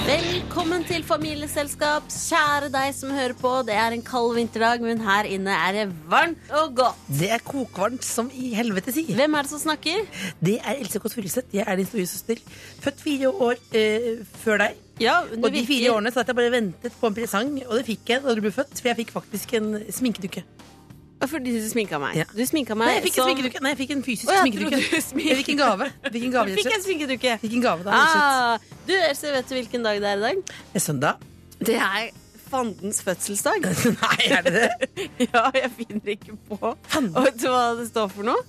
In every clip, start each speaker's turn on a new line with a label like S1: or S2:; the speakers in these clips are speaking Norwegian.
S1: Velkommen til familieselskap, kjære deg som hører på. Det er en kald vinterdag, men her inne er det varmt og godt.
S2: Det er kokvarmt som i helvete si.
S1: Hvem er det som snakker?
S2: Det er Else Kåss Furuseth. Jeg er din store søster. Født fire år eh, før deg.
S1: Ja,
S2: Og de fire årene satt jeg bare og ventet på en presang, og det fikk jeg da du ble født. For jeg fikk faktisk en sminkedukke.
S1: Fordi du sminka meg.
S2: Ja.
S1: Du sminka
S2: Nei,
S1: meg
S2: jeg fikk, en sminkedukke. Nei, jeg fikk en fysisk
S1: sånn- Å, jeg
S2: sminkedukke.
S1: trodde du smink-
S2: Jeg fikk en gave. Jeg Fikk en
S1: Du
S2: gave,
S1: fikk
S2: rett
S1: en
S2: og slett.
S1: sminkedukke.
S2: Fikk en gave da, rett og slett.
S1: Ah, du, Else, vet du hvilken dag det er i dag?
S2: Det er søndag.
S1: Det er fandens fødselsdag.
S2: Nei, er det det?
S1: ja, jeg finner ikke på.
S2: Fanden.
S1: Og vet du hva det står for noe?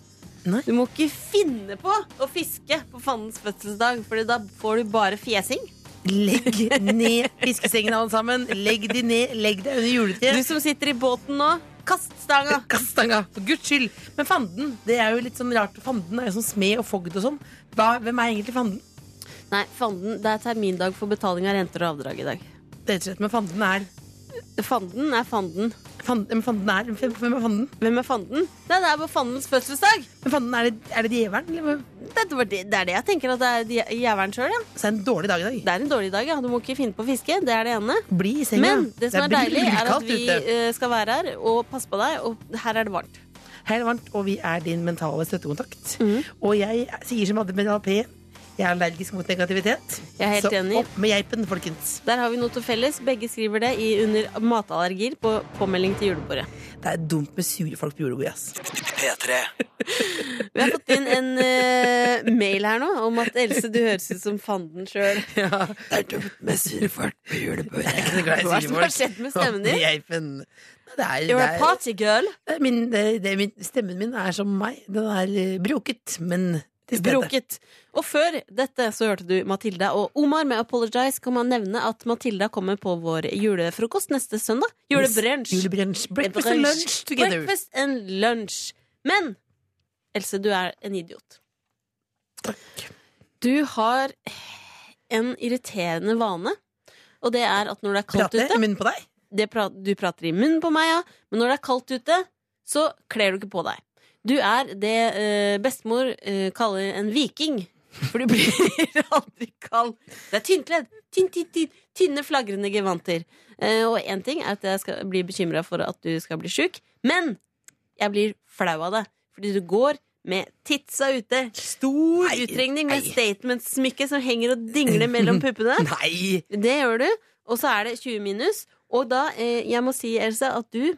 S2: Nei.
S1: Du må ikke finne på å fiske på fandens fødselsdag, Fordi da får du bare fjesing.
S2: Legg ned fiskesengene, alle sammen. Legg de ned. Legg deg under
S1: Du
S2: juletreet.
S1: som sitter i båten nå, kast stanga!
S2: Kast stanga, for guds skyld. Men fanden, det er jo litt sånn rart. Fanden er jo sånn smed og fogd og sånn. Hva, hvem er egentlig fanden?
S1: Nei, fanden, det er termindag for betaling av renter og avdrag i dag.
S2: Det er rett og slett, men fanden er
S1: Fanden er fanden.
S2: fanden, Men fanden er Hvem hvem er fanden?
S1: Hvem er fanden? Nei, det er bare fandens fødselsdag!
S2: Men fanden, er det, er det djevelen? Eller hva?
S1: Det, var det, det er det jeg tenker at det er dje- jævelen sjøl, ja.
S2: Så er det en dårlig dag i dag.
S1: Det er en dårlig dag, ja. Du må ikke finne på å fiske. Det er det ene.
S2: Bli i senga.
S1: Men det som er deilig, er at
S2: brutkaldt
S1: vi
S2: ute.
S1: eh, skal være her og passe på deg, og her er det varmt.
S2: Hei, det er varmt, og vi er din mentale støttekontakt.
S1: Mm.
S2: Og jeg sier som hadde med P, jeg er allergisk mot negativitet.
S1: Jeg er helt
S2: så
S1: enig.
S2: opp med geipen, folkens.
S1: Der har vi noe til felles. Begge skriver det i under matallergier på påmelding til julebordet.
S2: Det er dumt med sure folk på julebord, ass.
S3: P3
S1: Vi har fått inn en eh, mail her nå om at Else, du høres ut som fanden sjøl.
S2: Det er dumt med sure folk på julebord. Jeg er ikke
S1: Hva er
S2: så glad i
S1: det som har
S2: sure
S1: skjedd med
S2: folk.
S1: stemmen din?
S2: Geipen. Det er, det
S1: You're a
S2: er,
S1: partygirl.
S2: det er min, det, det er min, stemmen min er som meg. Den er eh, broket, men til stede.
S1: Broket. Og før dette så hørte du Matilda og Omar med 'Apologize'. Kan man nevne at Matilda kommer på vår julefrokost neste søndag? Julebrunsj.
S2: Julebrunsj. Breakfast and
S1: Brunch.
S2: lunch together.
S1: Breakfast and lunch. Men Else, du er en idiot.
S2: Takk.
S1: Du har en irriterende vane. Og det er at når det er kaldt
S2: Prater jeg
S1: ute
S2: i munnen på deg?
S1: det pra Du prater i munnen på meg, ja. Men når det er kaldt ute, så kler du ikke på deg. Du er det eh, bestemor eh, kaller en viking. For du blir aldri kald. Det er tynnkledd. Tynn, tynn, tynn. Tynne, flagrende gevanter. Eh, og én ting er at jeg skal bli bekymra for at du skal bli sjuk, men jeg blir flau av det. Fordi du går med titsa ute. Stor
S2: Nei,
S1: utregning med
S2: nei.
S1: statement-smykke som henger og dingler mellom puppene.
S2: Nei!
S1: Det gjør du, og så er det 20 minus. Og da, eh, jeg må si, Else, at du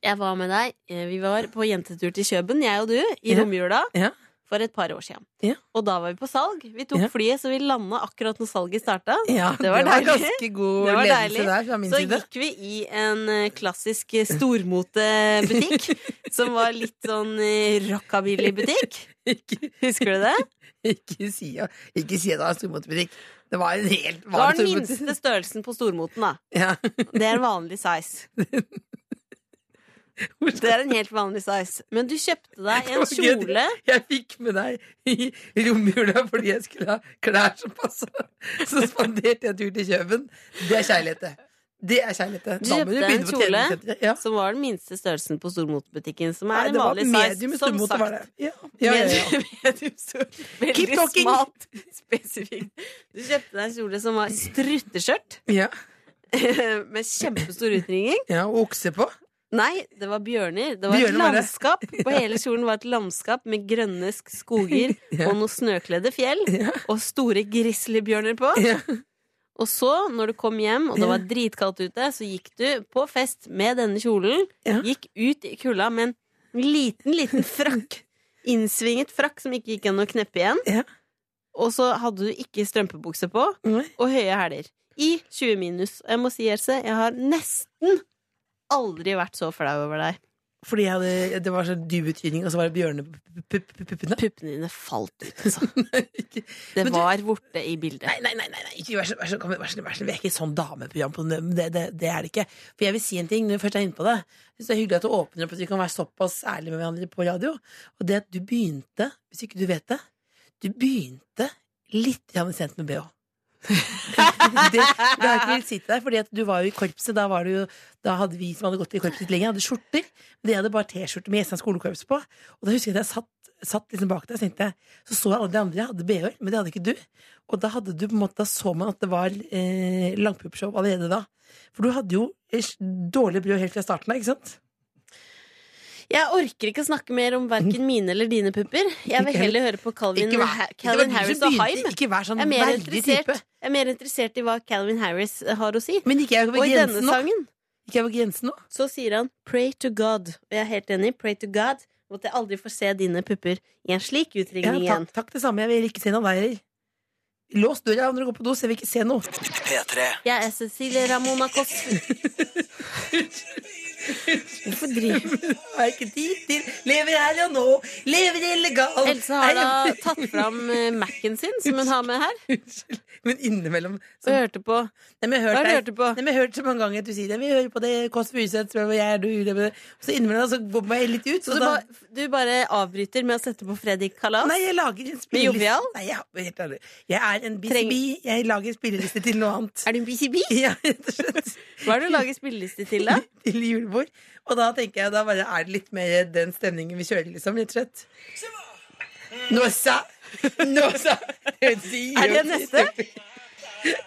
S1: Jeg var med deg. eh, Vi var på jentetur til Kjøben, jeg og du, i
S2: Ja.
S1: romjula
S2: Ja.
S1: for et par år siden.
S2: Ja.
S1: Og da var vi på salg. Vi tok
S2: Ja.
S1: flyet, så vi landa akkurat når salget starta.
S2: Ja,
S1: Det var deilig.
S2: ganske god
S1: Det var
S2: ledelse
S1: deilig.
S2: der fra min
S1: Så
S2: side.
S1: gikk vi i en eh, klassisk eh, stormotebutikk, som var litt sånn eh, rockabilly-butikk.
S2: Ikke,
S1: Husker du det?
S2: ikke, si, ikke si at det var en stormotebutikk. Det var en helt
S1: Det var den
S2: stormot-
S1: minste størrelsen på stormoten, da.
S2: Ja.
S1: Det er en vanlig size. Det er en helt vanlig size. Men du kjøpte deg en
S2: Det var gøy.
S1: kjole.
S2: Jeg fikk med deg i romjula fordi jeg skulle ha klær som passa. Så spanderte jeg en tur til Kjøben. Det er kjærlighet, det. Det er kjærlighet. det.
S1: Du
S2: Da må
S1: kjøpte en
S2: begynne på
S1: kjole.
S2: treningssenteret. Ja.
S1: Som var den minste størrelsen på stormotbutikken. Som
S2: Nei,
S1: er en
S2: det var
S1: vanlig
S2: medium
S1: size, som
S2: stormot, det var det.
S1: sagt.
S2: Ja. Ja, ja, ja.
S1: Medium- medium stor.
S2: Keep
S1: Veldig
S2: talking.
S1: smalt, spesifikt. Du kjøpte deg en kjole som var strutteskjørt,
S2: Ja.
S1: med kjempestor utringning.
S2: ja, og okse på.
S1: Nei, det var bjørner. Det var
S2: Bjørner
S1: et
S2: var det.
S1: landskap. På hele kjolen var et landskap med grønne sk- skoger
S2: Ja.
S1: og noen snøkledde fjell.
S2: Ja.
S1: Og store grizzlybjørner på.
S2: Ja.
S1: Og så, når du kom hjem, og det
S2: Ja.
S1: var dritkaldt ute, så gikk du på fest med denne kjolen.
S2: Ja.
S1: Gikk ut i kulda med en liten, liten frakk. Innsvinget frakk som ikke gikk an å kneppe igjen.
S2: Ja.
S1: Og så hadde du ikke strømpebukse på,
S2: Nei.
S1: og høye hæler. I 20 minus. Og jeg må si, Else, jeg har nesten aldri vært så flau over deg.
S2: Fordi jeg hadde, det var så dyp utydning, og så var det bjørner på pu- pu- pu- puppene.
S1: Puppene dine falt ut, altså.
S2: Ikke-
S1: Det
S2: Men du-
S1: var borte i bildet.
S2: Nei, nei, nei, nei, nei. ikke vær så vær så- kom igjen, vær så- vær så- Vi er ikke et sånn dameprogram. På det, det, det, det er det ikke. For jeg vil si en ting når vi først er inne på det. Jeg synes det er hyggelig at du åpner opp, at vi kan være såpass ærlige med hverandre på radio. Og det at du begynte, hvis ikke du vet det, du begynte litt grann sent med BH. det, det har jeg ikke villet si til deg, fordi at du var jo i korpset. Da, var du jo, da hadde vi som hadde gått i korpset lenge, hadde skjorter. Men jeg hadde bare T-skjorte med Jessheim skolekorps på. Og da husker jeg at jeg satt satt liksom bak deg, så tenkte jeg Så så jeg alle de andre hadde BH-er, men det hadde ikke du. Og da hadde du på en måte Da så man at det var eh, langpuppshow allerede da. For du hadde jo eh, dårlig brød helt fra starten av, ikke sant?
S1: Jeg orker ikke å snakke mer om verken mine eller dine pupper. Jeg vil
S2: Ikke
S1: heller høre på Calvin,
S2: Ikke vær-
S1: Ha-
S2: det var
S1: Calvin
S2: du som
S1: Harris og
S2: begynte,
S1: Haim.
S2: Ikke vær sånn
S1: Jeg er, mer
S2: verdig
S1: interessert,
S2: type.
S1: jeg er mer interessert i hva Calvin Harris har å si.
S2: Men gikk jeg
S1: Og
S2: over
S1: i denne
S2: grensen nå?
S1: sangen
S2: Gikk jeg over grensen nå?
S1: så sier han 'pray to God'. Og jeg er helt enig. Pray to God. Og at jeg aldri får se dine pupper i en slik
S2: Ja,
S1: utringning igjen.
S2: takk, takk det samme. Jeg vil ikke se noe av deg heller. Lås døra når du går på do, så jeg vil ikke se noe.
S1: Jeg er Cecilie Ramona Kåss. Hvorfor driver
S2: Har ikke tid til Lever her og nå, lever illegalt
S1: Else har da
S2: Nei,
S1: tatt fram eh, Mac-en sin, som hun har med her,
S2: Unnskyld. Men innimellom
S1: og
S2: så,
S1: hørte på.
S2: Nei, men jeg
S1: Hva
S2: har
S1: har du
S2: hørt
S1: hørt
S2: deg
S1: på?
S2: Nei, men jeg har hørt så mange ganger at du sier det. Vi hører på det, Kåss Furuseth, tror jeg, og jeg er du, det, det. Så innimellom så går jeg litt ut.
S1: Så du,
S2: Så da,
S1: ba, du bare avbryter med å sette på Fredrik Kalas?
S2: nei, jeg lager en
S1: Blir
S2: spilleliste.
S1: jovial?
S2: Nei, jeg, helt ærlig. jeg er en busy
S1: Treng-
S2: bee. Jeg lager spilleliste til noe annet.
S1: Er du en BCB?
S2: Ja, rett og slett.
S1: Hva er det du lager spilleliste til, da?
S2: Til julebord. Og da tenker jeg, da bare er det litt mer den stemningen vi kjører, liksom, rett og slett. Nå sa! Nå sa! Er
S1: Er det neste?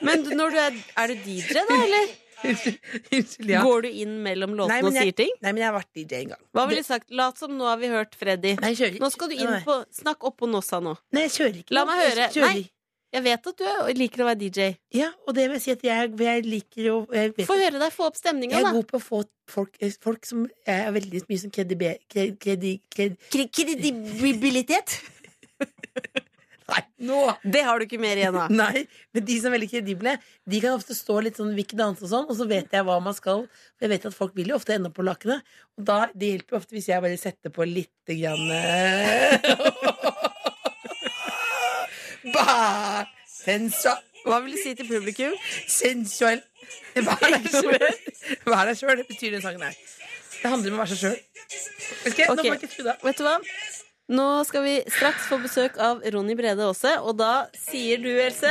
S1: Men du- når du er, er du DJ, da, eller?
S2: Unnskyld, ja.
S1: Går du inn mellom låtene og
S2: jeg,
S1: sier ting?
S2: nei, men jeg har vært DJ en gang.
S1: Hva ville du sagt? Lat som nå har vi hørt Freddy.
S2: Nei, jeg kjører ikke.
S1: Nå skal du inn
S2: Nei,
S1: på Snakk oppå Nossa nå.
S2: Nei, jeg kjører ikke.
S1: La meg høre.
S2: Jeg kjører-
S1: Nei. Jeg vet at du er- liker å være DJ.
S2: Ja, og det vil jeg si at jeg, jeg liker jo jeg, vet,
S1: Få høre deg, få opp
S2: jeg
S1: stemninga,
S2: er
S1: da.
S2: god på å få folk, eh, folk som er veldig mye sånn kredibe... Kredi, kredi, kredi.
S1: Kredibilitet?
S2: Nei, nå!
S1: Det har du ikke mer igjen av.
S2: Nei, men de som er veldig kredible, de kan ofte stå litt sånn hvilken danse og sånn, og så vet jeg hva man skal. For jeg vet at folk vil jo ofte ende opp på lakenet. Og da, det hjelper jo ofte hvis jeg bare setter på lite grann eh, Bah! Sensua,
S1: Hva vil du si til publikum?
S2: sensuell Vær deg sjøl. Vær deg sjøl, det betyr den sangen her. Det handler om å være seg sjøl. Okay, Nå
S1: Ok.
S2: må jeg ikke tro det.
S1: Vet du hva? Nå skal vi straks få besøk av Ronny Brede Aase, og da sier du, Else,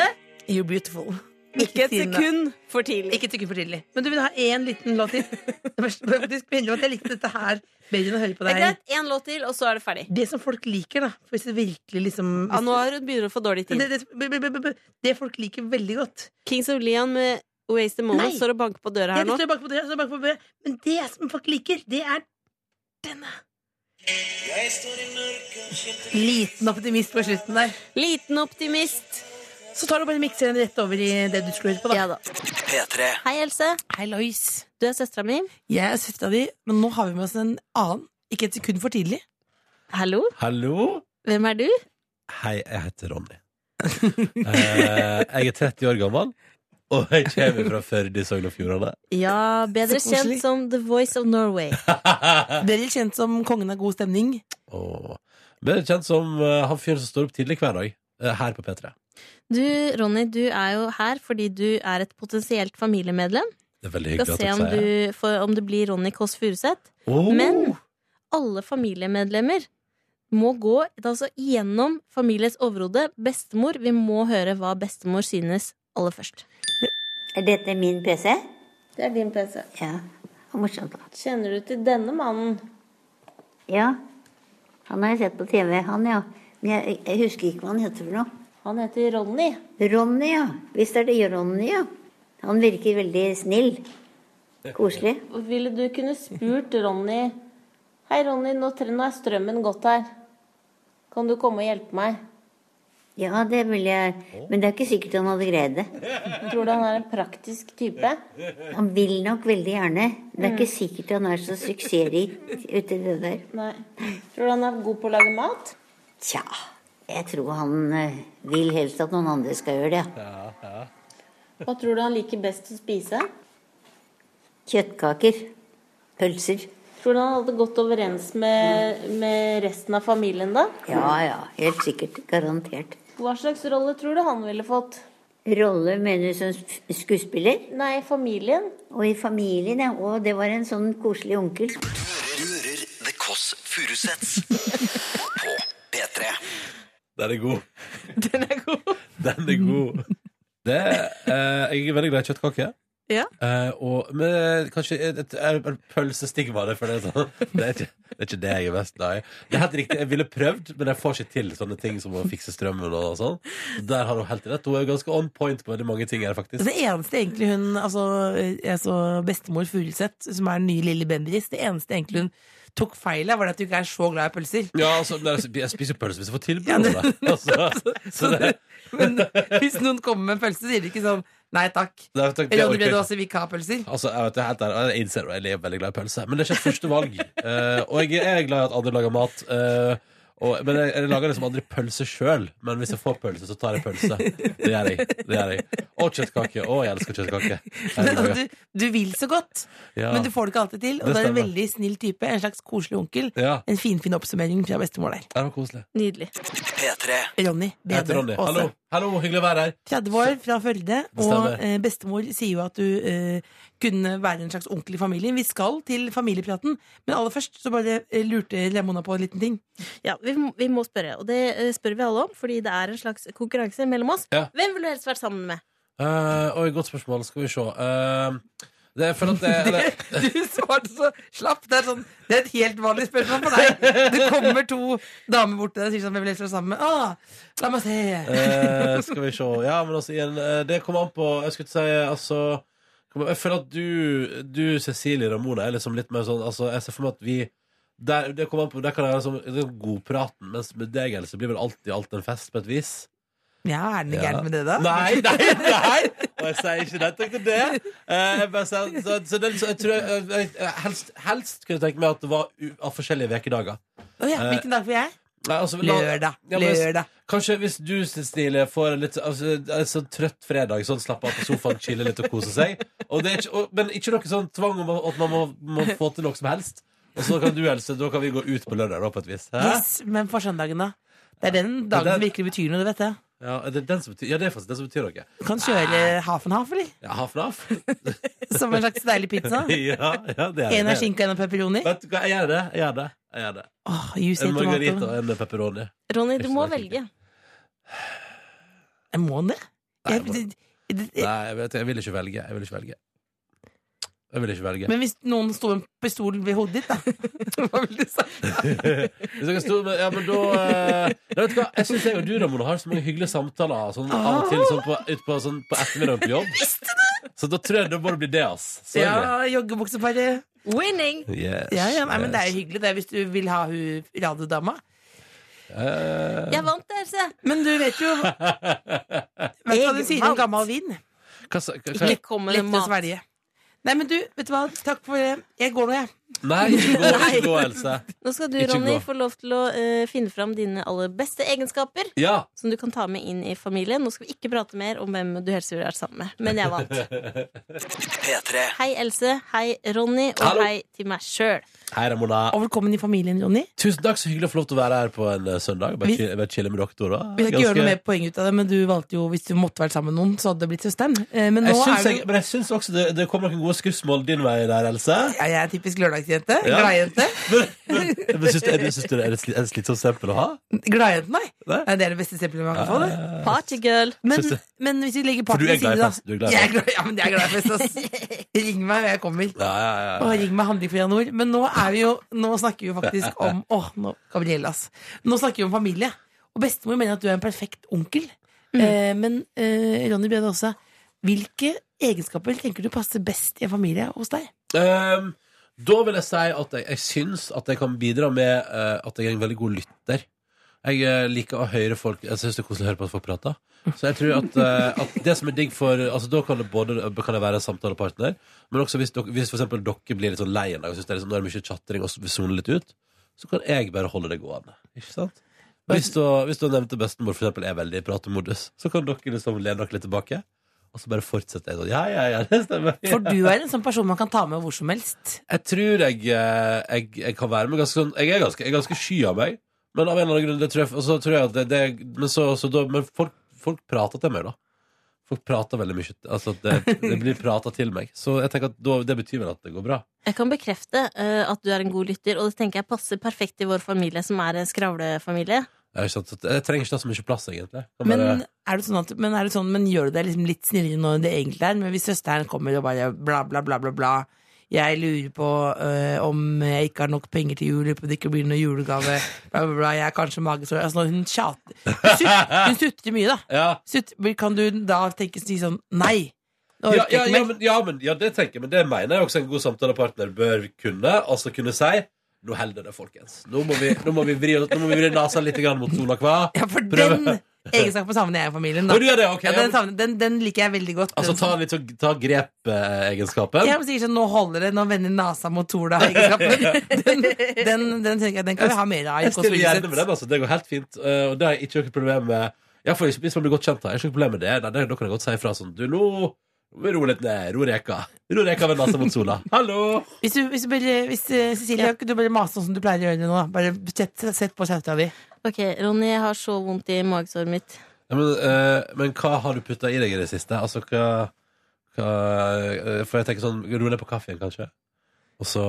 S2: You're beautiful.
S1: ikke et
S2: si noe.
S1: sekund for tidlig.
S2: Ikke et sekund for tidlig. Men du vil ha én liten låt til? Det var faktisk begynner med at jeg likte dette her bedre enn å høre på
S1: Det er
S2: deg.
S1: greit, én låt til, og så er det ferdig.
S2: Det som folk liker, da. For hvis det virkelig liksom
S1: Ja, nå har hun begynner å få dårlig tid.
S2: det, det, b- b- b- b- det folk liker veldig godt.
S1: Kings of Leon med Waste the Moment
S2: Nei.
S1: står og banker på døra
S2: Jeg
S1: her nå.
S2: står bak på døra, jeg står bak på døra. Men det som folk liker, det er denne. Liten optimist på slutten der.
S1: Liten optimist.
S2: Så tar du bare mikser den rett over i det du skulle høre på. da
S1: Ja da. Hei, Else.
S2: Hei, Lois.
S1: Du er søstera mi.
S2: Jeg er søstera di, men nå har vi med oss en annen. Ikke et sekund for tidlig.
S1: Hallo.
S3: Hallo.
S1: Hvem er du?
S3: Hei, jeg heter Ronny. Eh, jeg er 30 år gammel, og jeg kommer fra Førde i Sogn og Fjordane.
S1: Ja, bedre
S2: Så koselig.
S1: kjent som The Voice of Norway.
S2: Dere er kjent som kongen av god stemning.
S3: Og Bedre kjent som eh, han fyren som står opp tidlig hver dag eh, her på P3.
S1: Du, Ronny, du er jo her fordi du er et potensielt familiemedlem.
S3: Det er veldig
S1: Vi skal
S3: hyggelig
S1: se
S3: at
S1: om
S3: dere sier det.
S1: du, får- om det blir Ronny Kåss Furuseth.
S3: Åh,
S1: Men- alle familiemedlemmer må gå altså, gjennom familiens overhode. Bestemor, vi må høre hva bestemor synes aller først.
S4: Er dette min PC?
S1: Det er din PC.
S4: Ja. Og morsomt, da.
S1: Kjenner du til denne mannen?
S4: Ja. Han har jeg sett på TV, han, ja. Men jeg, jeg husker ikke hva han heter for noe.
S1: Han heter Ronny.
S4: Ronny, ja. Visst er det Ronny, ja. Han virker veldig snill. Koselig.
S1: Og ville du kunne spurt Ronny Hei, Ronny, nå, tre- nå er strømmen gått her. Kan du komme og hjelpe meg?
S4: Ja, det vil jeg Men det er ikke sikkert han hadde greid det.
S1: Tror du han er en praktisk type?
S4: Han vil nok veldig gjerne. Det er ikke sikkert han er så suksessrik uti det der.
S1: Nei. Tror du han er god på å lage mat?
S4: Tja, jeg tror han eh, vil helst at noen andre skal gjøre det. ja.
S1: Hva tror du han liker best å spise?
S4: Kjøttkaker. Pølser.
S1: Tror du han hadde gått overens med, med resten av familien, da?
S4: Ja, ja. Helt sikkert. Garantert.
S1: Hva slags rolle tror du han ville fått?
S4: Rolle mener du som sk- skuespiller?
S1: Nei, familien.
S4: Og i familien, ja. Og det var en sånn koselig onkel.
S5: Du hører The Kåss Furuseths på P3.
S3: Den er god. Den er god. Den er god. Det, eh, jeg er veldig glad i kjøttkaker.
S1: Ja.
S3: Eh, og, men kanskje eh, et, et, et, et pølsestigma det, føler jeg sånn. det, er ikke, det er ikke det jeg er best Nei Det er helt riktig, jeg ville prøvd, men jeg får ikke til sånne ting som å fikse strømmen og sånn. Der har hun helt rett. Hun er jo ganske on point på veldig mange ting her, faktisk.
S2: Det eneste egentlig hun altså, altså Bestemor Furuseth, som er den nye Lille Bendriss, det eneste egentlig hun tok feil av, var at du ikke er så glad i pølser.
S3: Ja, altså, nei, jeg spiser jo pølse hvis jeg får tilbud
S2: Ja,
S3: om
S2: det-
S3: det. Altså, så det,
S2: Men hvis noen kommer med en pølse, sier de ikke sånn Nei takk.
S3: det, det, det
S2: Eller om det
S3: orker
S2: blir
S3: jeg ikke.
S2: også vikarpølser.
S3: Altså, jeg, vet, det er helt ærlig, jeg innser at jeg er veldig glad i pølse, men det er ikke et første valg. Eh, og jeg er glad i at andre lager mat. eh, og, men jeg, jeg lager liksom aldri pølse sjøl. Men hvis jeg får pølse, så tar jeg pølse. Det gjør jeg. det gjør jeg Og kjøttkake. Å, jeg elsker kjøttkake.
S2: Men, altså,
S3: Herregud.
S2: du, du vil så godt,
S3: Ja.
S2: men du får det ikke alltid til. Og
S3: Det
S2: det er en
S3: stemmer.
S2: veldig snill type. En slags koselig onkel.
S3: ja.
S2: En finfin oppsummering fra bestemor der.
S3: Det var koselig.
S1: Nydelig.
S5: P3
S2: Ronny
S3: Jeg heter
S2: Bede
S3: Ronny. Hallo,
S2: Aase.
S3: Hallo hyggelig å være her.
S2: 30 år fra Førde, og
S3: stemmer.
S2: eh, bestemor sier jo at du eh, kunne være en slags onkel i familien. Vi skal til familiepraten, men aller først så bare eh, lurte Lemona på en liten ting.
S1: Ja, vi, må- vi må spørre, og det eh, spør vi alle om, fordi det er en slags konkurranse mellom oss.
S3: Ja.
S1: Hvem ville du helst vært sammen med?
S3: Eh, oi, godt spørsmål. Skal vi se. Eh, det, jeg føler at det, eller,
S2: Du svarte så slapp. Det er, sånn, det er et helt vanlig spørsmål for deg. Det kommer to damer bort til deg og sier sånn Hvem vil helst være sammen med? Ah, la meg se.
S3: Eh, skal vi se. Ja, men altså, igjen, eh, det kommer an på Jeg skulle ikke si altså kom- Jeg føler at du, du Cecilie Ramona, er liksom litt mer sånn altså, Jeg ser for meg at vi der, det kommer an på, der kan jeg være sånn- det er godpraten, mens med deg Else blir vel alltid alt en fest, på et vis.
S2: Ja, er det noe
S3: Ja.
S2: gærent med det, da?
S3: Nei, nei, nei! Og jeg sier ikke det, tenkte det. Eh, jeg bare sier- så, så, den, så jeg tror jeg, jeg, jeg, helst, helst kunne jeg tenke meg at det var u, av forskjellige ukedager.
S2: Å ja,
S3: Eh,
S2: hvilken dag får jeg?
S3: Nei, altså, la-
S2: Lørdag.
S3: Ja, men-
S2: Lørdag.
S3: Kanskje hvis du, Cecilie, får en litt altså, en sånn trøtt fredag, sånn slappe av på sofaen, chille litt og kose seg. Og det er ikke, og, men ikke noe sånn tvang om at man må, må få til noe som helst. Og så kan du, Else, da kan vi gå ut på lørdag, da, på et vis. Hæ?
S2: Yes, men for søndagen, da? Det er den dagen
S3: det-
S2: som virkelig betyr noe, det vet jeg.
S3: Ja, det er den som betyr, ja, det er faktisk den som betyr noe.
S2: Du kan kjøre half and half, eller?
S3: Ja, Haf naf.
S2: Som en slags deilig pizza.
S3: Ja, ja, det er
S2: En
S3: det.
S2: av skinka, en av pepperoni.
S3: Vet du hva, jeg gjør det. Jeg gjør det. Jeg gjør det.
S2: Åh, juice i
S3: En margarita
S2: tomater.
S3: og en pepperoni.
S1: Ronny,
S3: Ikke
S1: du må
S3: så veldig.
S1: velge.
S2: Jeg Må den det?
S3: Nei,
S2: Jeg-
S3: jeg må-
S2: det- det- det-
S3: Nei, jeg, vet, jeg vil ikke velge. Jeg vil ikke velge. Jeg vil ikke velge.
S2: Men hvis noen sto en pistol ved hodet ditt, da? Hva ville du sagt?
S3: Hvis dere sto med, ja, men da eh, nei, vet du hva? Jeg syns jeg og du, Ramona, har så mange hyggelige samtaler sånn, av og til sånn på, ut på, sånn, på ettermiddagen på jobb. Så da tror jeg det må det bli det, ass. Sorry.
S2: Ja, joggebukseparet.
S1: Winning!
S3: Yes,
S2: Ja, ja, nei, men det er
S3: yes.
S2: jo hyggelig, det, er hvis du vil ha hun radiodama.
S3: Eh,
S1: Jeg vant det, Else!
S2: Men du vet jo Vet du hva de sier om gammel vin?
S3: hva sa- hva sa-
S1: Ikke kom med
S2: Lett
S1: den
S2: å
S1: mat.
S2: svelge. Nei, men du, vet du hva? Takk for det. Jeg går nå, jeg.
S3: Nei, ikke gå, ikke gå, Else.
S1: Nå skal du,
S3: Ikke
S1: Ronny,
S3: gå.
S1: få lov til å eh, finne fram dine aller beste egenskaper.
S3: Ja.
S1: Som du kan ta med inn i familien. Nå skal vi ikke prate mer om hvem du helst ville vært sammen med. Men jeg vant.
S5: P3
S1: Hei, Else. Hei, Ronny. Og
S3: Hallo.
S1: hei til meg sjøl.
S3: Hei, Ramona.
S2: Og velkommen i familien, Ronny.
S3: Tusen takk, så hyggelig å få lov til å være her på en eh, søndag. Bare
S2: Vi-
S3: chill- bare chille med doktorer.
S2: Vi skal ikke gjøre noe mer poeng ut av det, men du valgte jo hvis du måtte vært sammen med noen, så hadde det blitt søsteren. Eh, Men nå
S3: Jeg syns,
S2: er
S3: jeg,
S2: du
S3: men jeg syns også det, det kommer noen gode skussmål din vei der, Else.
S2: ja, Jeg er typisk lørdagsjente.
S3: Ja.
S2: Gladjente.
S3: Men syns du, er, det- syns du det er et sli- er det et slitsomt stempel å ha?
S2: Gladjenten, nei.
S3: Nei.
S2: Nei, Det er det beste eksempelet man kan få. det
S1: Partygirl.
S2: men,
S3: Syns du-
S2: men hvis vi legger
S3: For du
S2: parten
S3: er
S2: til
S3: glad i
S2: side, da.
S3: fest, du er glad i
S2: Jeg er glad, ja, men jeg er glad i fest, ass. Ring meg, og jeg kommer.
S3: Ja, ja, ja.
S2: Å, ring meg handlefri av nord. Men nå, er vi jo, nå snakker vi jo faktisk om Åh, nå, Gabrielle, ass. Nå snakker vi om familie. Og bestemor mener at du er en perfekt onkel.
S3: Mm.
S2: Eh, men eh, Ronny Bjørn også, hvilke egenskaper tenker du passer best i en familie hos deg?
S3: Ehm, da vil jeg si at jeg, jeg syns at jeg kan bidra med eh, at jeg er en veldig god lytter. Jeg eh, liker å høre folk Jeg syns det er koselig å høre på at folk prater. Så jeg tror at, eh, at det som er digg for Altså Da kan det både kan jeg være en samtalepartner, men også hvis, dere- hvis for eksempel dere blir litt sånn lei en dag og syns det er liksom, nå er det mye chatring og vil sone litt ut, så kan jeg bare holde det gående. Ikke sant? Hvis du, hvis du nevnte bestemor for eksempel er veldig i pratemodus, så kan dere liksom lene dere litt tilbake, og så bare fortsette. jeg sånn, Ja, ja, ja, det stemmer. Ja.
S2: For du er en sånn person man kan ta med hvor som helst.
S3: Jeg tror jeg, eh, jeg, jeg kan være med ganske sånn Jeg er ganske, jeg er ganske sky av meg, men av en eller annen grunn det tror jeg, og så tror jeg at det, det Men, så, så da, men folk, folk prater til meg, da. Folk prater veldig mye. Altså at det, det blir prata til meg. Så jeg tenker at da, det betyr vel at det går bra.
S1: Jeg kan bekrefte eh, at du er en god lytter, og det tenker jeg passer perfekt i vår familie, som er en skravlefamilie.
S3: Ja, ikke sant? Så Jeg trenger ikke ta så mye plass, egentlig. Kan
S2: Men
S3: bare-
S2: er det sånn, at, men er det sånn Men gjør du deg liksom litt snillere nå enn det egentlig er? Men hvis søsteren kommer og bare bla, bla, bla, bla, bla jeg lurer på øh, om jeg ikke har nok penger til jul, på det ikke blir noen julegave bla, bla, bla, Jeg er kanskje magesår altså, Hun tjater. Hun sut- Hun sutrer mye, da.
S3: ja.
S2: Sutt, kan du da tenke si sånn Nei! Nå orker
S3: Ja, ja,
S2: jeg ikke mer.
S3: ja, men, ja, men, ja, det tenker jeg, men det mener jeg også en god samtalepartner bør kunne. Altså kunne si Nå holder det, folkens. Nå må vi, nå må vi vri, nå må vi vri nesa litt grann mot sola hva?
S2: Ja, for
S3: Prøve.
S2: den egenskapen savner jeg i familien. Da.
S3: Å, du gjør det, ok.
S2: ja, den, savner, den, den liker jeg veldig godt.
S3: Altså
S2: Den
S3: ta, litt sånn- ta grep-egenskapen.
S2: Ja, men sier sånn, nå holder det, nå vender nasa mot Tola Den, den, den tenker jeg, den kan vi ha mer av i
S3: Jeg stiller gjerne
S2: Kåsshuset.
S3: med den, altså. Det går helt fint. eh, og det har jeg ikke noe problem med. Ja, for hvis- hvis man blir godt kjent, da, jeg har ikke noe problem med det. Nei, det- da kan jeg godt si ifra sånn Du, nå må vi roe litt ned. Ro reka. Ro reka ved nesa mot sola. Hallo!
S2: Hvis, du, hvis, du bare, hvis eh, Cecilie, kan ikke du bare mase sånn som du pleier å gjøre nå, da? Bare sett, sett på skauta di.
S1: Ok, Ronny, jeg har så vondt i magesåret mitt.
S3: Ja, men, eh, men hva har du putta i deg i det siste? Altså, hva, hva eh, For jeg tenker sånn Ro ned på kaffen, kanskje. Og så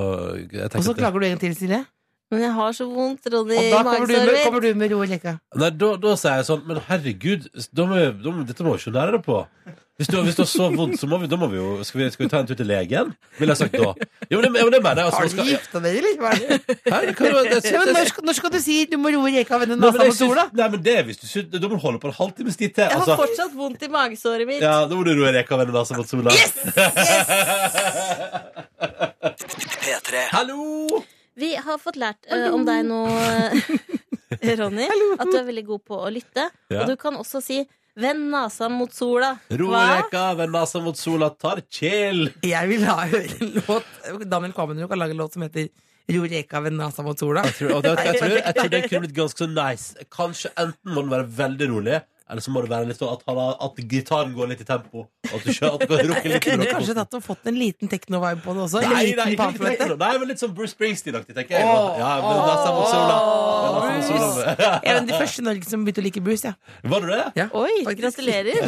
S3: jeg tenker
S2: Og så
S3: at det-
S2: klager du en gang til, Silje.
S1: Men jeg har så vondt, Ronny,
S2: Og
S1: i
S2: da kommer du med,
S1: magesåret mitt.
S2: kommer du med ro og leka.
S3: Nei, da, da sier jeg sånn Men herregud, da må, vi- da, må- dette må vi ikke nære deg på. Hvis du, hvis du har så vondt, så må vi, da må vi jo Skal vi, skal vi ta en tur til legen? Ville jeg sagt da. Jo, men det, jo, men det mener jeg. Altså,
S2: Har
S3: man
S2: du
S3: skal- ja,
S2: gifta deg, eller? Hva er det?
S3: Hæ? Det kan jo- det-
S2: Ja, men
S3: det-
S2: når, skal- når skal du si du må roe reka og vende
S3: Nei, men
S2: nasa
S3: jeg
S2: mot Tola?
S3: syns- Nei, men det er hvis du syns Da må du holde på en halvtimes tid til.
S1: Jeg har
S3: Altså.
S1: fortsatt vondt i magesåret mitt.
S3: Ja, da må du roe reka vende nesa mot sola.
S5: P3.
S3: Hallo!
S1: Vi har fått lært eh, om deg nå, eh, Ronny, at du er veldig god på å lytte.
S3: Ja.
S1: Og du kan også si 'vend nasa mot sola'.
S3: Ro reka vende nesa mot sola, tar chill.
S2: Jeg vil ha høre en låt. Daniel Kvammenrud kan lage en låt som heter Ro reka ved nasa mot sola.
S3: Jeg tror, og det, jeg, tror, jeg tror det kunne blitt ganske så nice. Kanskje enten må den være veldig rolig, eller så må det være litt sånn at, han har, at gitaren går litt i tempo. Og at du kjører, at du kan rukke
S2: Jeg
S3: litt i
S2: kunne kanskje
S3: rockkosten.
S2: tatt og fått en liten tekno-vibe på det også. Eller
S3: Nei,
S2: en liten
S3: nei, ikke litt
S2: pamfløyte.
S3: techno. nei, men litt sånn Bruce Springsteen-aktig, tenker jeg. Ja, vende nesa mot sola. Vende nesa mot sola.
S2: Jeg er en av de første i Norge som begynte å like Bruce. Ja.
S3: Var du det?
S2: Ja,
S1: Oi,
S2: faktisk.
S1: gratulerer.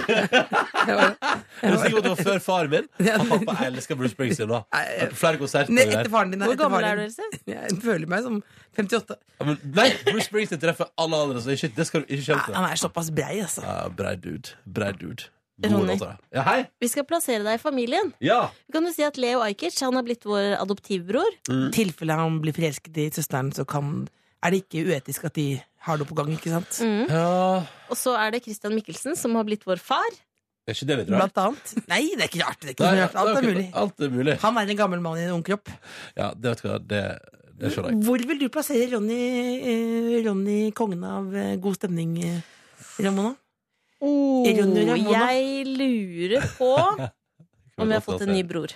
S3: Er du sikker på at det var før faren min? Han pappa elsker Bruce Springsteen da.
S2: Nei, jeg-
S3: På flere konserter
S2: Nei,
S3: der.
S2: etter faren din. nei,
S1: Hvor
S2: etter
S1: gammel
S2: faren
S1: er du,
S2: din.
S1: Else?
S2: Jeg føler meg som 58.
S3: Ja, men, nei, Bruce Springsteen treffer alle andre, så shit, det skal du ikke kjempe med.
S2: Han er såpass brei, altså.
S3: Ja, brei dude. Brei dude.
S1: Ronny.
S3: låter, da. Ja, hei!
S1: Vi skal plassere deg i familien.
S3: Ja!
S1: Vi kan jo si at Leo Ajkic han har blitt vår adoptivbror.
S2: I tilfelle han blir forelsket i søsteren, så kan, er det ikke uetisk at de har det på gang. ikke sant?
S1: Mm.
S3: ja.
S1: Og så er det Christian Mikkelsen som har blitt vår far.
S3: Er ikke det litt rart?
S2: Blant annet. Nei, det er ikke rart. Det er ikke
S3: Nei,
S2: noe rart. Alt er mulig.
S3: Alt er mulig.
S2: Han er en gammel mann i en ung kropp.
S3: Ja, det vet du hva, det, det skjønner jeg.
S2: Hvor vil du plassere Ronny, eh, Ronny kongen av eh, god stemning, eh, Ramona?
S1: Oh,
S2: Ronny og Ramona.
S1: jeg lurer på om vi har fått en ny bror.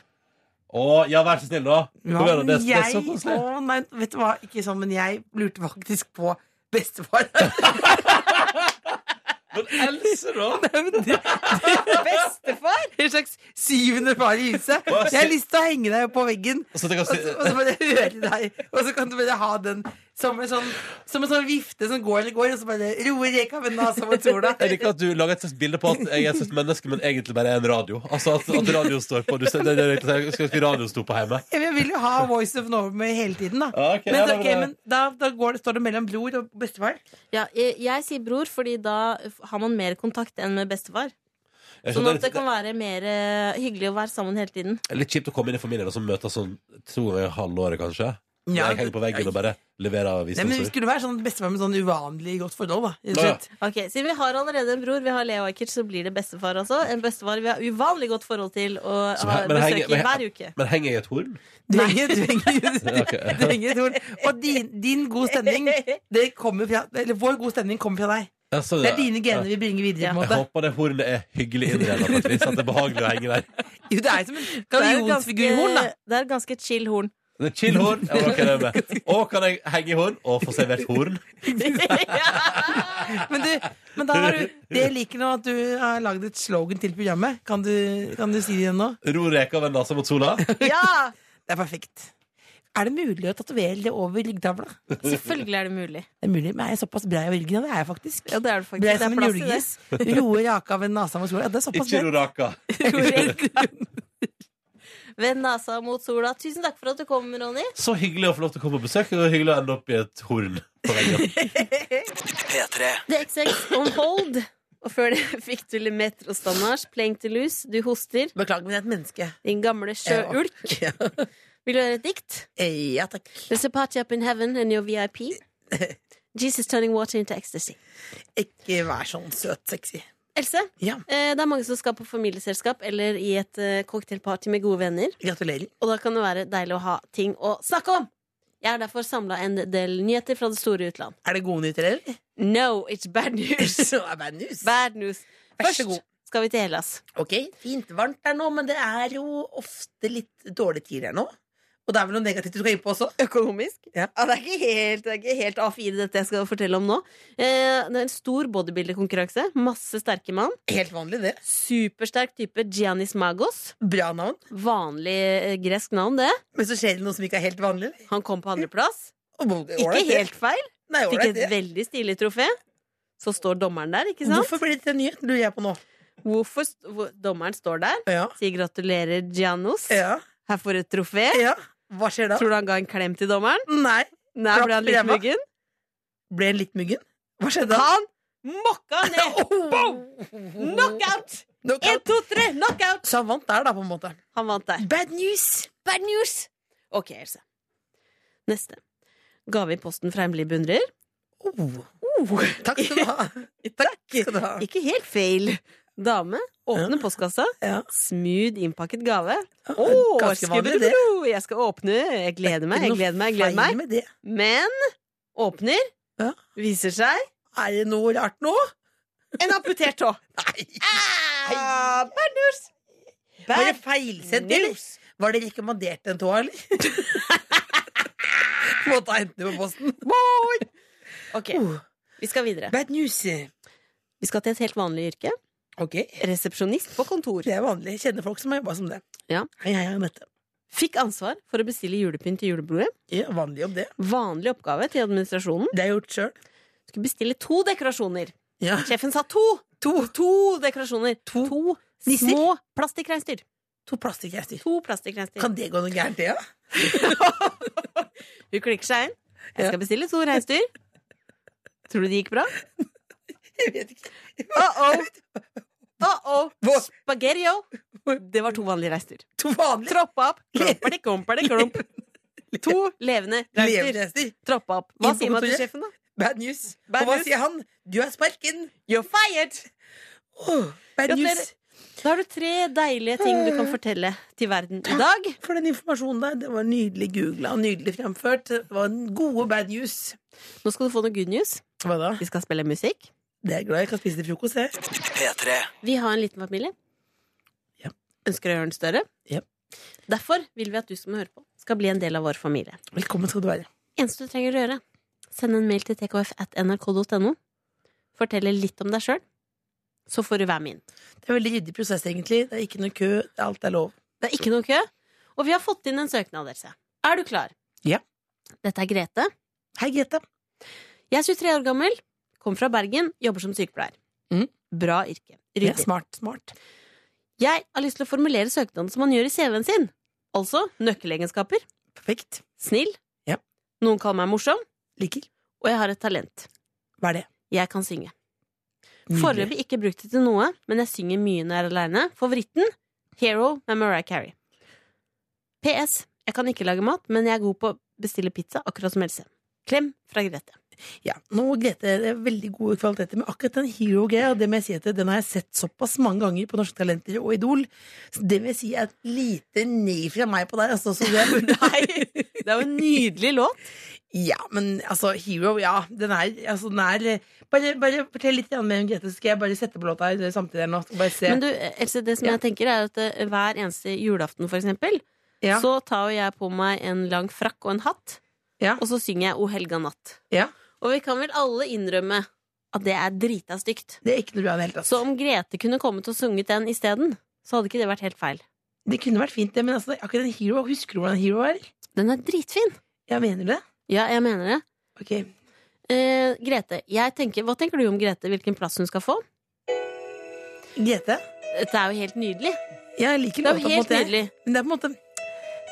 S3: Å, ja, vær så snill, da! Kom igjen, da. Det, det er så
S2: jeg-
S3: koselig.
S2: Å, nei, vet du hva, ikke sånn, men jeg lurte faktisk på bestefar.
S3: Men Else, da!
S2: bestefar? En slags syvende far i huset.
S3: Hva?
S2: Jeg har lyst til å henge deg på veggen.
S3: Og så tenker
S2: Og så, og så
S3: jeg
S2: bare høre deg, og så kan du bare ha den som en sånn, som en sånn vifte som går eller går, og så bare roer reka med nasa mot sola.
S3: jeg liker at du lager et slags bilde på at jeg er et slags menneske, men egentlig bare er en radio. Altså at, at radioen står på. Du, ser- det, det, det, jeg skulle ønske radioen sto på hjemme.
S2: Ja, men Jeg vil jo ha Voice of Norway hele tiden, da.
S3: Ja, ok,
S2: men
S3: ja, det er
S2: ok,
S3: bra.
S2: men da, da går det, står det mellom bror og bestefar.
S1: Ja, jeg, jeg sier bror, fordi da har man mer kontakt enn med bestefar.
S3: Jeg
S1: Sånn
S3: skjønner-
S1: at det kan være mer eh, hyggelig å være sammen hele tiden.
S3: Det er Litt kjipt å komme inn i familien og så møtes sånn to ganger i halvåret, kanskje.
S2: Ja,
S3: jeg henger på veggen og bare leverer
S2: Nei, men vi
S3: visdomsord.
S2: skulle være sånn bestefar med sånn uvanlig godt forhold, da. rett og
S3: Å, ja.
S2: slett.
S1: Ok, Siden vi har allerede en bror, vi har Leo Ajkic, så blir det bestefar også. En bestefar vi har uvanlig godt forhold til og
S3: Så
S1: har
S3: her- men
S1: besøk
S3: her henger-
S1: i
S3: men her-
S1: hver uke.
S3: Men henger jeg i et horn?
S2: Du henger- du henger- du-
S3: Ok.
S2: du henger i et horn. Og din, din god stemning, det kommer fra Eller vår god stemning kommer fra deg.
S3: Ja, så-
S2: Det er dine gener vi bringer videre,
S1: Ja.
S2: på en
S3: Jeg
S2: måte.
S3: håper det hornet er hyggelig innredet, på et vis. At det er behagelig å henge der.
S2: Jo, det er som en
S1: Det er et
S2: gallionsfigurhorn, da.
S1: ganske- det er et ganske chill horn.
S3: Det er chill horn. Jeg var ok det med. Og kan jeg henge i horn og få servert horn?
S2: Men, du, men da har du Det jeg liker nå, at du har lagd et slogan til programmet. Kan du, kan du si det igjen nå?
S3: Ro reka ved nesa mot sola?
S1: ja!
S2: Det er perfekt. Er det mulig å tatovere det over ryggtavla?
S1: Selvfølgelig er det mulig.
S2: Det er mulig, men jeg er såpass brei av ryggen, ja, det er jeg faktisk.
S1: Ja, det er det faktisk. Det
S2: Brei
S1: er
S2: som en
S1: plass til det.
S2: julegris. Roer raka ved nasa med sola. Ja, det er såpass
S3: Ikke ro
S2: brei.
S3: raka.
S2: Roer-
S1: ved nesa mot sola. Tusen takk for at du kom, Ronny.
S3: Så hyggelig å få lov til å komme på besøk, og hyggelig å ende opp i et horn på veggen.
S5: P3.
S1: The XX on hold. Og før det fikk du Lemaitre og Standards, Playing to Lose, Du hoster,
S2: Beklager, men jeg er et menneske.
S1: Din gamle sjøulk.
S2: Ja,
S1: Vil du høre et dikt?
S2: ja takk.
S1: There's a party up in heaven and your VIP. Jesus turning water into ecstasy.
S2: Ikke vær sånn søt sexy.
S1: Else,
S2: Ja,
S1: eh, det er mange som skal på familieselskap eller i et eh, cocktailparty med gode venner.
S2: gratulerer.
S1: Og da kan det være deilig å ha ting å snakke om! Jeg har derfor samla en del nyheter fra det store utland.
S2: Er det gode nyheter, eller?
S1: No, it's bad news!
S2: Så er bad news.
S1: Bad news.
S2: Vær så god.
S1: Først skal vi til Hellas.
S2: Ok, fint varmt der nå, men det er jo ofte litt dårlige tider her nå. Og det er vel noe negativt du skal inn på også?
S1: Økonomisk?
S2: Ja.
S1: det, er ikke helt, det er ikke helt A4 dette jeg skal fortelle om nå. Eh, det er en stor bodybuilderkonkurranse. Masse sterke mann.
S2: Helt vanlig, det.
S1: Supersterk type Giannis Magos.
S2: Bra navn.
S1: Vanlig eh, gresk navn, det.
S2: Men så skjer det noe som ikke er helt vanlig. eller?
S1: Han kom på andreplass.
S2: Og hvor-
S1: Ikke
S2: ålreit, det.
S1: helt feil.
S2: Nei,
S1: Fikk
S2: ålreit,
S1: et
S2: det.
S1: veldig stilig trofé. Så står dommeren der, ikke sant?
S2: Hvorfor blir det til nyhet, lurer jeg på nå?
S1: Hvorfor st hvor, dommeren står der,
S2: Ja.
S1: sier gratulerer, Giannos.
S2: ja,
S1: Her får du et trofé.
S2: ja. Hva skjer da?
S1: Tror du han ga en klem til dommeren?
S2: Nei,
S1: Nei,
S2: Klapp
S1: ble han
S2: for
S1: litt
S2: Emma.
S1: muggen?
S2: ble en litt muggen? Hva skjedde da?
S1: Han mokka ned! Knockout!
S2: Knockout.
S1: En, to, tre, knockout!
S2: Så han vant der, da, på en måte.
S1: Han vant der.
S2: Bad news!
S1: Bad news! Ok, Else. Neste. Gave i posten fra hemmelig beundrer.
S2: Oh. Takk skal du ha. Takk skal du ha.
S1: Ikke helt feil. Dame åpner postkassa.
S2: Ja.
S1: Smooth innpakket gave. Å,
S2: Ganske vanlig, det.
S1: skubbelbro! Jeg skal åpne. Jeg gleder meg, jeg gleder meg, jeg gleder meg.
S2: Feil Med det.
S1: Men åpner.
S2: Ja.
S1: Viser seg
S2: Er det noe rart nå?
S1: en amputert tå.
S2: Nei!
S1: Ah, bad news!
S2: Var det
S1: Bad
S2: feilsendt, eller?
S1: news.
S2: Var det rekommendert en tå, eller? Måtte hente det på posten.
S1: Ok,
S2: Oh,
S1: vi skal videre.
S2: bad news.
S1: Vi skal til et helt vanlig yrke.
S2: Ok,
S1: Resepsjonist på kontor.
S2: det er vanlig. Jeg kjenner folk som har jobba som det.
S1: Ja.
S2: Hei, hei, Anette.
S1: Fikk ansvar for å bestille julepynt til juleblodet.
S2: Ja, vanlig jobb, det.
S1: Vanlig oppgave til administrasjonen.
S2: Det har jeg gjort sjøl.
S1: Skulle bestille to dekorasjoner.
S2: Ja.
S1: Sjefen sa to! To, dekorasjoner. To,
S2: nisser.
S1: små plastikkreinsdyr.
S2: To plastikkreiser.
S1: To plastikkreinsdyr.
S2: Kan det gå noe gærent, det? Ja?
S1: Hun klikker seg inn. Jeg skal bestille to reinsdyr. Tror du det gikk bra?
S2: Jeg vet ikke.
S1: Uh-oh! Uh-oh!
S2: Hva?
S1: Spagerio! Det var to vanlige reinsdyr.
S2: To vanlige
S1: Troppa opp! Klumperdi, klumperdi, klump. To levende reinsdyr.
S2: levertester.
S1: Troppa opp. Hva
S2: Inn på
S1: sier man til
S2: kontoret.
S1: sjefen, da?
S2: Bad news.
S1: Bad
S2: Og hva
S1: news.
S2: sier han? Du er sparken!
S1: You're fired!
S2: Åh, bad news.
S1: Gratulerer. Da har du tre deilige ting du kan fortelle til verden i dag.
S2: For den informasjonen der. Det var nydelig googla og nydelig fremført. Det var en gode bad news.
S1: Nå skal du få noe good news.
S2: Hva da?
S1: Vi skal spille musikk.
S2: Det er jeg glad jeg kan spise til frokost, jeg.
S5: P3.
S1: Vi har en liten familie.
S2: Ja.
S1: Ønsker å gjøre den større.
S2: Ja.
S1: Derfor vil vi at du som hører på, skal bli en del av vår familie.
S2: Velkommen skal du være.
S1: Eneste du trenger å gjøre, send en mail til tkf at nrk.no. Fortelle litt om deg sjøl, så får du være med inn.
S2: Det er veldig ryddig prosess, egentlig. Det er ikke noe kø. Alt er lov.
S1: Det er ikke noe kø. Og vi har fått inn en søknad, Else. Er du klar?
S2: Ja.
S1: Dette er Grete.
S2: Hei, Grete.
S1: Jeg er 23 år gammel, kommer fra Bergen, jobber som sykepleier.
S2: Mm.
S1: Bra yrke.
S2: Ja,
S1: Ryddig.
S2: smart, smart.
S1: Jeg har lyst til å formulere søknaden som man gjør i CV-en sin. Altså nøkkelegenskaper.
S2: Perfekt.
S1: Snill.
S2: Ja.
S1: Noen kaller meg morsom,
S2: Liker.
S1: og jeg har et talent.
S2: Hva er det?
S1: Jeg kan synge.
S2: Nydelig.
S1: Foreløpig ikke brukt det til noe, men jeg synger mye når jeg er aleine. Favoritten? Hero med Mariah Carey. PS. Jeg kan ikke lage mat, men jeg er god på å bestille pizza, akkurat som Else. Klem fra Grete.
S2: Ja, nå Grete, det er veldig gode kvaliteter, men akkurat den hero-greia, det må jeg si at den har jeg sett såpass mange ganger på Norske Talenter og Idol, så det må jeg si er et lite nei fra meg på deg, altså. Så det,
S1: Nei, det er jo en nydelig låt.
S2: ja, men altså, hero, ja, den er, altså, den er bare, bare fortell litt grann mer om Grete, så skal jeg bare sette på låta her eh, samtidig her nå, skal bare se.
S1: Men du, Else, det som
S2: Ja.
S1: jeg tenker, er at eh, hver eneste julaften, for eksempel,
S2: ja,
S1: så tar jo jeg på meg en lang frakk og en hatt,
S2: Ja.
S1: og så synger jeg O helga natt.
S2: ja,
S1: Og vi kan vel alle innrømme at det er drita stygt.
S2: det er ikke noe bra i det hele tatt.
S1: Så om Grete kunne kommet og sunget den isteden, så hadde ikke det vært helt feil.
S2: Det kunne vært fint det, men altså, akkurat den hero, husker du hvordan hero er?
S1: Den er dritfin!
S2: Ja, mener du det?
S1: Ja, jeg mener det.
S2: Ok.
S1: Eh, Grete, jeg tenker, hva tenker du om Grete? Hvilken plass hun skal få?
S2: Grete?
S1: Dette er jo helt nydelig.
S2: Ja, jeg liker
S1: Det er
S2: låta
S1: jo
S2: på en
S1: helt
S2: måte.
S1: nydelig.
S2: Men det er på en måte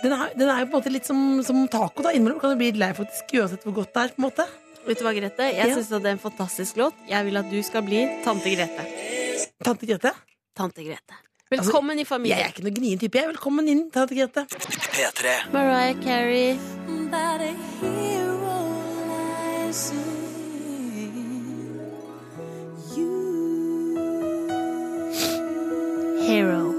S2: Den er, den er jo på en måte litt som, som taco. da Innimellom kan du bli litt lei, faktisk, uansett hvor godt det er. på en måte
S1: Vet du hva, Grete? Jeg
S2: Ja.
S1: synes syns det er en fantastisk låt. Jeg vil at du skal bli tante Grete. Altså,
S2: Tante Grete?
S1: Tante Grete. Velkommen i
S2: Jeg er
S1: familien.
S2: ikke noen gnien type. jeg Velkommen inn, tante Grete.
S5: P3.
S1: Mariah Carey. Hero.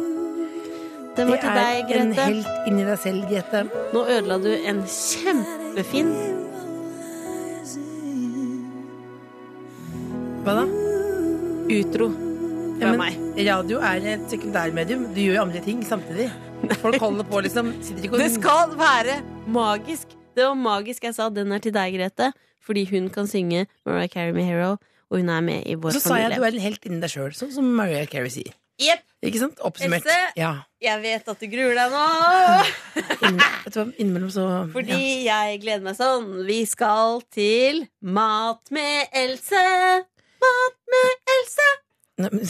S1: Den var
S2: Det
S1: til
S2: er
S1: deg,
S2: en
S1: Grete.
S2: helt inni deg selv, Grete.
S1: Nå ødela du en kjempefin
S2: Hva da?
S1: utro
S2: Ja,
S1: fra
S2: men
S1: meg.
S2: radio er et sekundærmedium. Du gjør jo andre ting samtidig. Folk holder på, liksom. Sitter ikke og
S1: Det skal være magisk! Det var magisk jeg sa den er til deg, Grete, fordi hun kan synge Mariah Carey med Hero, og hun er med i vår
S2: Så sa jeg at du er en helt inni deg sjøl, sånn som Mariah Carey sier.
S1: Jepp,
S2: Ikke sant? Oppsummert.
S1: Else?
S2: Ja.
S1: jeg vet at du gruer deg nå!
S2: Inn, vet du hva, innimellom så
S1: Fordi jeg gleder meg sånn. Vi skal til Mat med Else. Mat med Else!
S2: ja. Nei, men-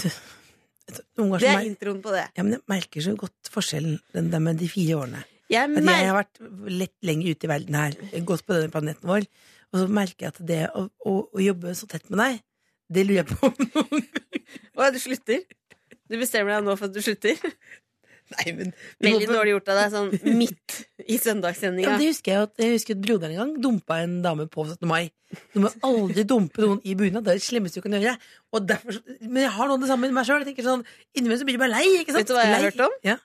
S2: Vet du, Noen ganger
S1: Det
S2: så
S1: er
S2: mer,
S1: introen på det.
S2: ja, men jeg merker så godt forskjellen, den der med de fire årene.
S1: Jeg
S2: At jeg
S1: merker
S2: har vært lett lenger ute i verden her, gått på denne planeten vår, og så merker jeg at det å, å, å jobbe så tett med deg, det lurer jeg på om noen
S1: Å, du slutter? Du bestemmer deg nå for at du slutter?
S2: Nei, men vi må
S1: Veldig
S2: be-
S1: dårlig gjort av deg, sånn midt i
S2: Ja,
S1: søndagssendinga.
S2: det husker jeg, at, jeg husker at broderen en gang dumpa en dame på 17. mai. Du må aldri dumpe noen i bunad. Det er det slemmeste du kan gjøre. Og derfor, men jeg har noe av det samme med meg sjøl. Sånn, Innimellom så blir du bare lei. ikke sant?
S1: Vet du hva jeg har
S2: lei.
S1: hørt om?
S2: Ja.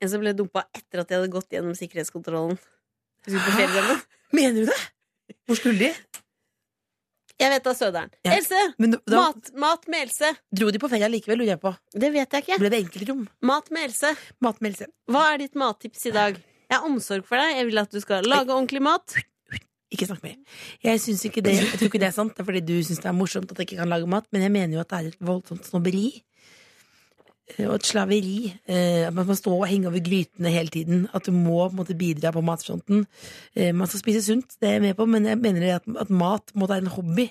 S1: En som ble dumpa etter at de hadde gått gjennom sikkerhetskontrollen. Husker du på feriedrømmen?
S2: Mener du det? Hvor skulle de?
S1: Jeg vet da Søderen.
S2: Ja.
S1: Else!
S2: Men da, da
S1: Mat, mat med Else.
S2: dro de på ferie likevel, lurer jeg på.
S1: Det vet jeg ikke.
S2: Ble det enkeltrom?
S1: Mat med Else.
S2: Matmeldelse.
S1: Hva er ditt mattips i dag? Jeg har omsorg for deg. Jeg vil at du skal lage ordentlig mat.
S2: Ikke snakk mer. Jeg, synes ikke det, jeg tror ikke det er sant. Det er fordi du syns det er morsomt at jeg ikke kan lage mat, men jeg mener jo at det er et voldsomt snobberi. eh, Og et slaveri. eh, At man må stå og henge over grytene hele tiden. At du må på en måte bidra på matfronten. Eh, Man skal spise sunt, det er jeg med på, men jeg mener det at, at mat må være en hobby.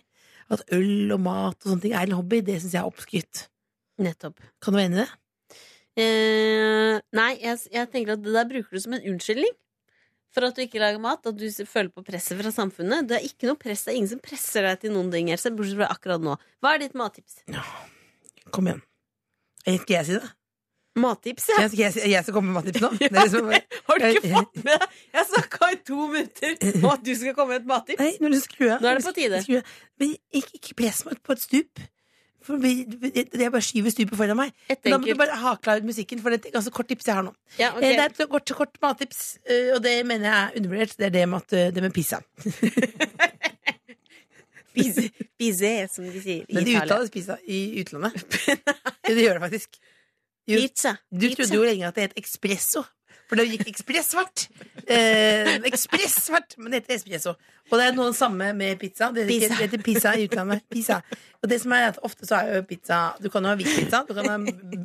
S2: At øl og mat og sånne ting er en hobby, det syns jeg er oppskrytt.
S1: Nettopp.
S2: Kan du være enig i det?
S1: Eh, nei, jeg, jeg tenker at det der bruker du som en unnskyldning for at du ikke lager mat. At du s- føler på presset fra samfunnet. Det er ikke noe press, det er ingen som presser deg til noen ting. Else, bortsett fra akkurat nå. Hva er ditt mattips?
S2: Kom igjen. Eh, Skal jeg si det?
S1: Mattips, ja!
S2: Jeg, skal jeg, si- jeg skal komme med mattips nå? Det er liksom,
S1: Har du ikke fått med deg? Jeg snakka i to minutter om at du skal komme med et mattips.
S2: Nei, nå er det skru av.
S1: Nå er det på tide.
S2: Skru av. Men ikke, ikke press meg på et stup. For vi, det- jeg bare skyver stupet foran meg.
S1: Et
S2: Men da må du
S1: enkelt.
S2: bare ha klar musikken, for det er et ganske kort tips jeg har nå.
S1: Ja, ok.
S2: Eh, Det er et kort, kort mattips, eh, og det mener jeg er undervurdert. Det er det med, at, eh, det med pizza.
S1: Pise, pise, som de sier i
S2: Men det
S1: Italia.
S2: uttales pizza i utlandet. Ja, Det gjør det faktisk. Jo,
S1: Pizza.
S2: du
S1: pizza.
S2: trodde jo lenge at det het espresso. For det gikk ekspress svart. Eh, ekspress svart, men det heter espresso. Og det er noe samme med pizza. Det heter,
S1: Pizza.
S2: det heter pizza i utlandet. Pizza. Og det som er at ofte så er jo pizza Du kan jo ha hvit pizza, du kan ha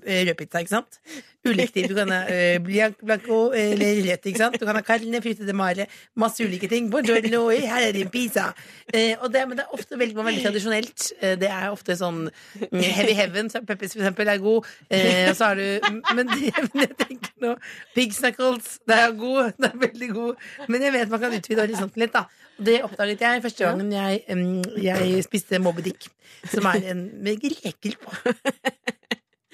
S2: eh, rød pizza, ikke sant? Ulike typer. Du kan ha eh, blanc, blanco eh, eller rødt, ikke sant? Du kan ha carne, frite de mare, masse ulike ting. Buongiorno, her er din pizza. Eh, og det, men det er ofte veldig, veldig tradisjonelt. Eh, det er ofte sånn mm, heavy heaven, så Peppers for eksempel er god. Eh, og så har du Men det, men jeg tenker nå Pig Snuckles, det er god. Det er veldig god. Men jeg vet man kan utvide horisonten litt, da. Og det oppdaget jeg første gangen jeg, em, jeg spiste Moby Dick, som er en med reker på.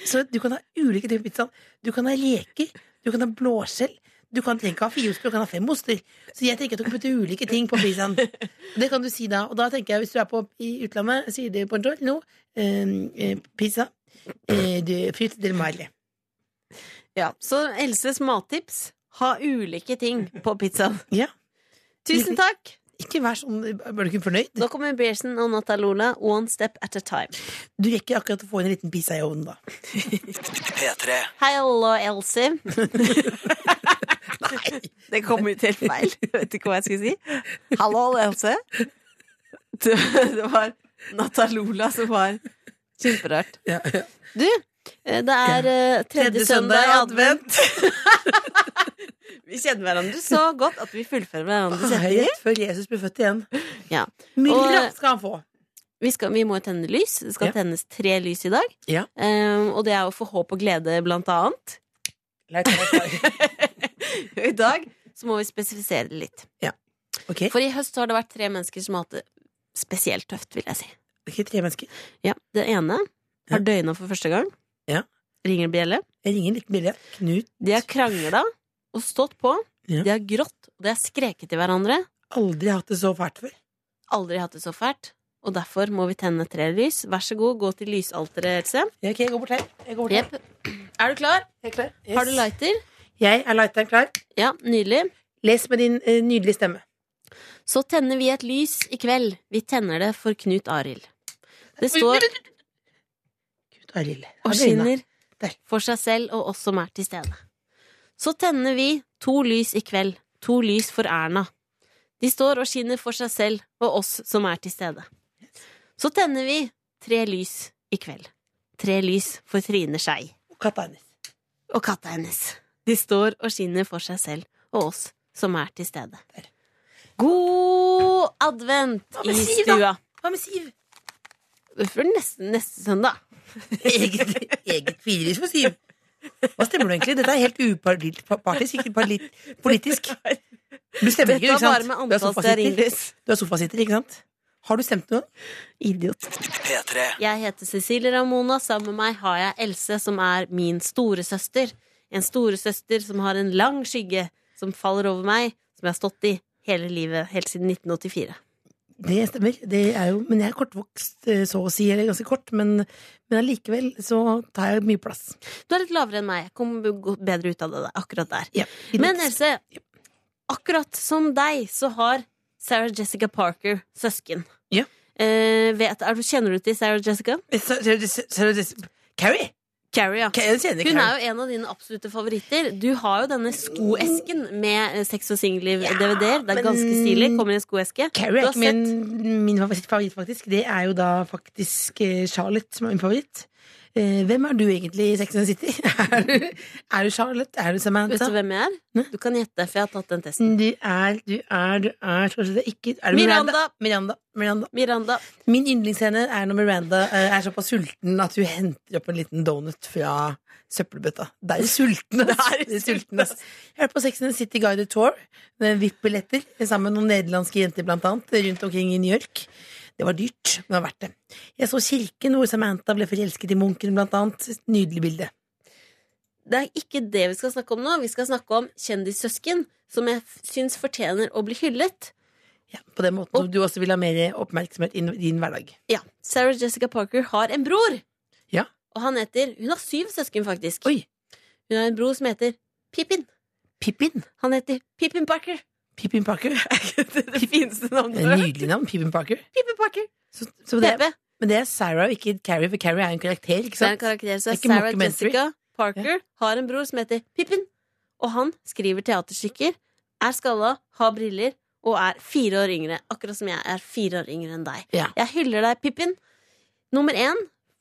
S2: Så du kan ha ulike typer pizza. Du kan ha reker, du kan ha blåskjell. Du kan trenger ikke ha fire oster, du kan ha fem oster. Så jeg tenker at du kan putte ulike ting på pizzaen. Det kan du si da. Og da tenker jeg, hvis du er på, i utlandet, sier de buongiorno, eh, eh, pizza, eh, du- fritt del mare.
S1: Ja, så Elses mattips ha ulike ting på pizzaen.
S2: Ja.
S1: Tusen takk!
S2: Ikke vær sånn, er du ikke fornøyd?
S1: Nå kommer Bearson og Natalola One Step At A Time.
S2: Du rekker akkurat å få en liten pizza i ovnen da.
S5: P3.
S1: Hei, alle og Else.
S2: Nei!
S1: Det kom ut helt feil. Jeg vet ikke hva jeg skulle si. Hallo, Else. Det, det var Natalola som var kjemperart.
S2: Ja, ja.
S1: Du, eh, det er eh, tredje
S2: Tredje
S1: søndag i advent.
S2: advent.
S1: Vi kjenner hverandre så godt at vi fullfører hverandres setninger.
S2: Rett før Jesus ble født igjen.
S1: Ja.
S2: Mylla
S1: Og-
S2: skal han få.
S1: Vi, skal, vi må jo tenne lys. Det skal
S2: Ja.
S1: tennes tre lys i dag.
S2: Ja.
S1: Eh, og det er jo for håp og glede, blant annet.
S2: Leit, leit, leit.
S1: I dag så må vi spesifisere det litt.
S2: Ok,
S1: For i høst så har det vært tre mennesker som har hatt det spesielt tøft, vil jeg si.
S2: ikke tre mennesker.
S1: Ja, Det ene
S2: Ja.
S1: har døgna for første gang.
S2: Ja.
S1: Ringer en bjelle.
S2: Jeg ringer en liten billig. Knut.
S1: De har krangla og stått på.
S2: Ja.
S1: De har grått, og de har skreket til hverandre.
S2: Aldri hatt det så fælt før.
S1: Aldri hatt det så fælt. Og derfor må vi tenne tre lys. Vær så god, gå til lysalteret, Else.
S2: Ja, ok, jeg går bort her. Jeg går bort her.
S1: Jepp. Er du klar?
S2: Jeg er klar.
S1: Har du
S2: Yes.
S1: lighter?
S2: Jeg er lighteren klar.
S1: Ja, nydelig.
S2: Les med din eh, nydelige stemme.
S1: Så tenner vi et lys i kveld. Vi tenner det for Knut Arild. Det står
S2: Gud, det er lille.
S1: og
S2: Det er øynene.
S1: skinner
S2: Der.
S1: for seg selv og oss som er til stede. Så tenner vi to lys i kveld, to lys for Erna. De står og skinner for seg selv og oss som er til stede. Så tenner vi tre lys i kveld. Tre lys for Trine Skei
S2: Og katta hennes.
S1: og katta hennes. De står og skinner for seg selv og oss som er til stede.
S2: Der.
S1: God advent
S2: Hva
S1: i
S2: med Siv, da?
S1: stua.
S2: Hva med Siv?
S1: For neste, neste søndag.
S2: Eget, eget hvilelys for Siv. Hva stemmer du egentlig? Dette er helt upartisk, ikke parli- politisk. Du stemmer
S1: Dette var
S2: ikke, ikke sant?
S1: bare med
S2: Du er
S1: antall
S2: sofasitter.
S1: stearinlys.
S2: Du er sofasitter, ikke sant? Har du stemt noe?
S1: Idiot.
S5: P3.
S1: Jeg heter Cecilie Ramona. Sammen med meg har jeg Else, som er min storesøster. En storesøster som har en lang skygge som faller over meg, som jeg har stått i hele livet, helt siden 1984.
S2: Det stemmer. Det er jo, men jeg er kortvokst, eh, så å si. Eller ganske kort. Men, men allikevel så tar jeg mye plass.
S1: Du er litt lavere enn meg. Jeg kommer gå- bedre ut av det der, akkurat der.
S2: Ja, i
S1: Men
S2: dags.
S1: Else, akkurat som deg så har Sarah Jessica Parker søsken.
S2: Ja. Eh,
S1: Eh, vet, er du, kjenner du til Sarah Jessica?
S2: Så- så- så- så- så- så- Carrie?
S1: Carrie, ja.
S2: Ka- Jeg kjenner
S1: Hun
S2: Carrie.
S1: er jo en av dine absolutte favoritter. Du har jo denne skoesken med eh, Sex og singelliv-DVD-er. Det er
S2: men-
S1: ganske stilig. Kommer i en skoeske.
S2: Carrie
S1: Du
S2: er
S1: har
S2: ikke min, min favoritt, favoritt, faktisk. Det er jo da faktisk eh, Charlotte som er min favoritt. Eh, hvem er du egentlig i Sex and the City? er, du, er du Charlotte? Er du
S1: Vet
S2: Samantha?
S1: du hvem jeg
S2: Nei.
S1: er? Du kan gjette, for jeg har tatt den testen.
S2: Du er, du er, du er Skal vi se, det er ikke er det
S1: Miranda.
S2: Miranda. Miranda.
S1: Miranda.
S2: Min yndlingsscene er når Miranda eh, er såpass sulten at hun henter opp en liten donut fra søppelbøtta. Det er jo sulten, ass. Det er sulten, ass. Jeg har vært på Sex and the City Guided Tour med VIP-billetter sammen med noen nederlandske jenter blant annet, rundt omkring i New York. Det var dyrt, men det var verdt det. Jeg så kirken hvor Samantha ble forelsket i munken, blant annet. Nydelig bilde.
S1: Det er ikke det vi skal snakke om nå. Vi skal snakke om kjendissøsken, som jeg f- syns fortjener å bli hyllet.
S2: Ja, på den måten som du også vil ha mer oppmerksomhet i din hverdag.
S1: Ja, Sarah Jessica Parker har en bror.
S2: Ja.
S1: Og han heter Hun har syv søsken, faktisk.
S2: Oi.
S1: Hun har en bror som heter Pippin.
S2: Pippin.
S1: Han heter Pippin Parker.
S2: Pippin Parker.
S1: Det fineste navnet
S2: Det er et Nydelig navn. Pippin Parker.
S1: Pippin Parker.
S2: Så, så det,
S1: PP.
S2: men det er Sarah, og ikke Carrie, for Carrie er en karakter, ikke
S1: Det er en
S2: sant?
S1: karakter som
S2: Det er ikke
S1: Sarah
S2: mockumentary.
S1: Jessica Parker har en bror som heter Pippin, og han skriver teaterstykker, er skalla, har briller og er fire år yngre, akkurat som jeg er fire år yngre enn deg.
S2: Ja.
S1: Jeg hyller deg, Pippin. Nummer én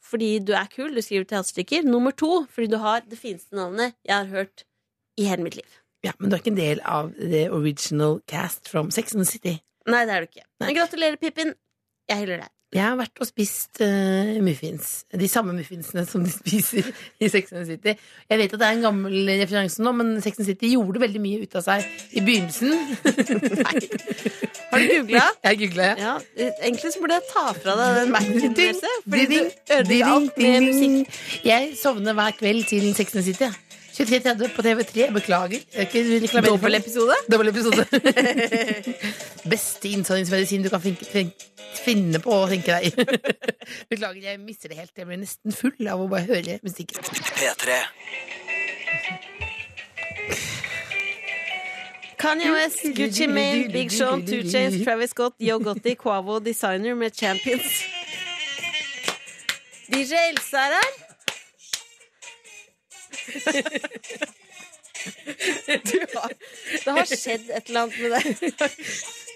S1: fordi du er kul, du skriver teaterstykker. Nummer to fordi du har det fineste navnet jeg har hørt i hele mitt liv.
S2: Ja, men du er ikke en del av the original cast from Sex and the City.
S1: Nei, det er du ikke. Men gratulerer, Pippin. Jeg hyller deg.
S2: Jeg har vært og spist eh, muffins. De samme muffinsene som de spiser i Sex and the City. Jeg vet at det er en gammel referanse nå, men Sex and the City gjorde veldig mye ut av seg i begynnelsen. Nei.
S1: Har du googla?
S2: Jeg googla, ja.
S1: Ja, egentlig så burde jeg ta fra deg den Mac-en,
S2: Ding,
S1: Else, fordi du
S2: ding,
S1: ødelegger
S2: ding,
S1: alt med
S2: ding,
S1: musikk.
S2: ding. Jeg sovner hver kveld til Sex and the City. jeg. 23.30 på TV3. Beklager. Jeg er ikke reklamerer for det.
S1: Dobbelepisode?
S2: Dobbel episode. Beste innsovningsmedisin du kan finke, fin- finne på å tenke deg. Beklager, jeg mister det helt. Jeg blir nesten full av å bare høre musikken.
S5: P3.
S1: Kanye West, Gucci Mane, Big Sean, Two Chainz, Travis Scott, Yo Gotti, Quavo, Designer med Champions. DJ Else er her. Du har, det har skjedd et eller annet med deg.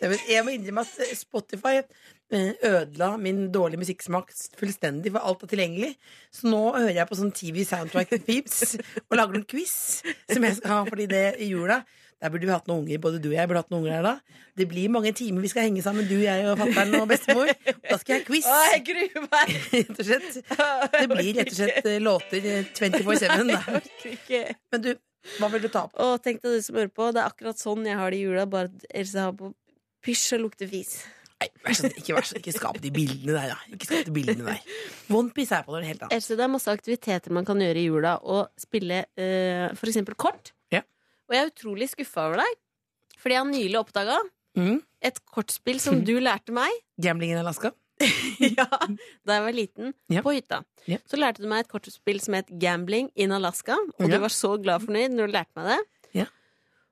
S2: Nei, men Jeg må innrømme at Spotify eh, ødela min dårlige musikksmak fullstendig, for alt er tilgjengelig. Så nå hører jeg på sånn TV Soundtrack Thieves og lager noen quiz som jeg skal ha fordi det i jula. Der burde vi hatt noen unger, både du og jeg burde hatt noen unger her da. Det blir mange timer vi skal henge sammen, du, jeg og fatter'n og bestemor. Da skal jeg ha quiz.
S1: gruer meg.
S2: Rett og slett. Det blir rett og slett eh, låter eh, 24-7. da.
S1: orker ikke.
S2: Men du, Hva vil du ta på?
S1: Og tenk deg du som hører på, det er akkurat sånn jeg har det i jula, bare at Else har på pysj og lukter fis.
S2: Nei, vær så snill, ikke, vær så, ikke skap de bildene der, da. Ikke skap de bildene der. Onepiece er jeg på når det hele tatt.
S1: Else, det er masse aktiviteter man kan gjøre i jula, og spille eh, for eksempel kort.
S2: Ja.
S1: Og jeg er utrolig skuffa over deg, fordi jeg har nylig oppdaga
S2: Mm.
S1: et kortspill som du lærte meg
S2: Gamblingen i Alaska.
S1: ja, da jeg var liten,
S2: Ja.
S1: på hytta.
S2: Ja.
S1: Så lærte du meg et kortspill som het Gambling in Alaska, og
S2: Ja.
S1: du var så glad fornøyd når du lærte meg det.
S2: Ja.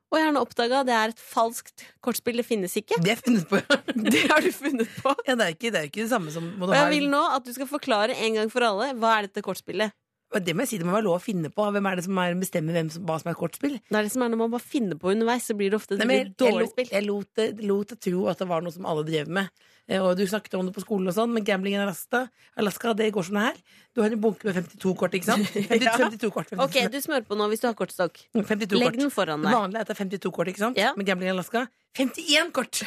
S1: Og jeg har nå oppdaga det er et falskt kortspill, det finnes ikke.
S2: Det har jeg funnet på.
S1: Det har du funnet på.
S2: Ja, det er ikke det, er ikke det samme som må
S1: Og jeg
S2: du
S1: liksom-
S2: ha-
S1: vil nå at du skal forklare en gang for alle hva er dette kortspillet.
S2: Og Det må jeg si, det må være lov å finne på. Hvem er det som er, bestemmer hvem som, hva som er kortspill?
S1: Det er det som er når man bare finner på underveis, så blir det ofte et
S2: Nei, men jeg,
S1: veldig
S2: jeg,
S1: dårlig
S2: lot-
S1: spill.
S2: jeg lot det- lot det tro at det var noe som alle drev med. Eh, Og Du snakket om det på skolen, og sånn men gambling i Alaska, Alaska det går som det her. Du har en bunke med 52 kort, ikke sant? 50,
S1: Ja.
S2: 52 kort, 52,
S1: Ok, du smører på nå hvis du har kortstokk.
S2: 52
S1: Legg
S2: kort.
S1: den foran
S2: Det
S1: deg.
S2: vanlige er at det er 52 kort, ikke sant?
S1: Ja.
S2: Men gambling i Alaska 51 kort!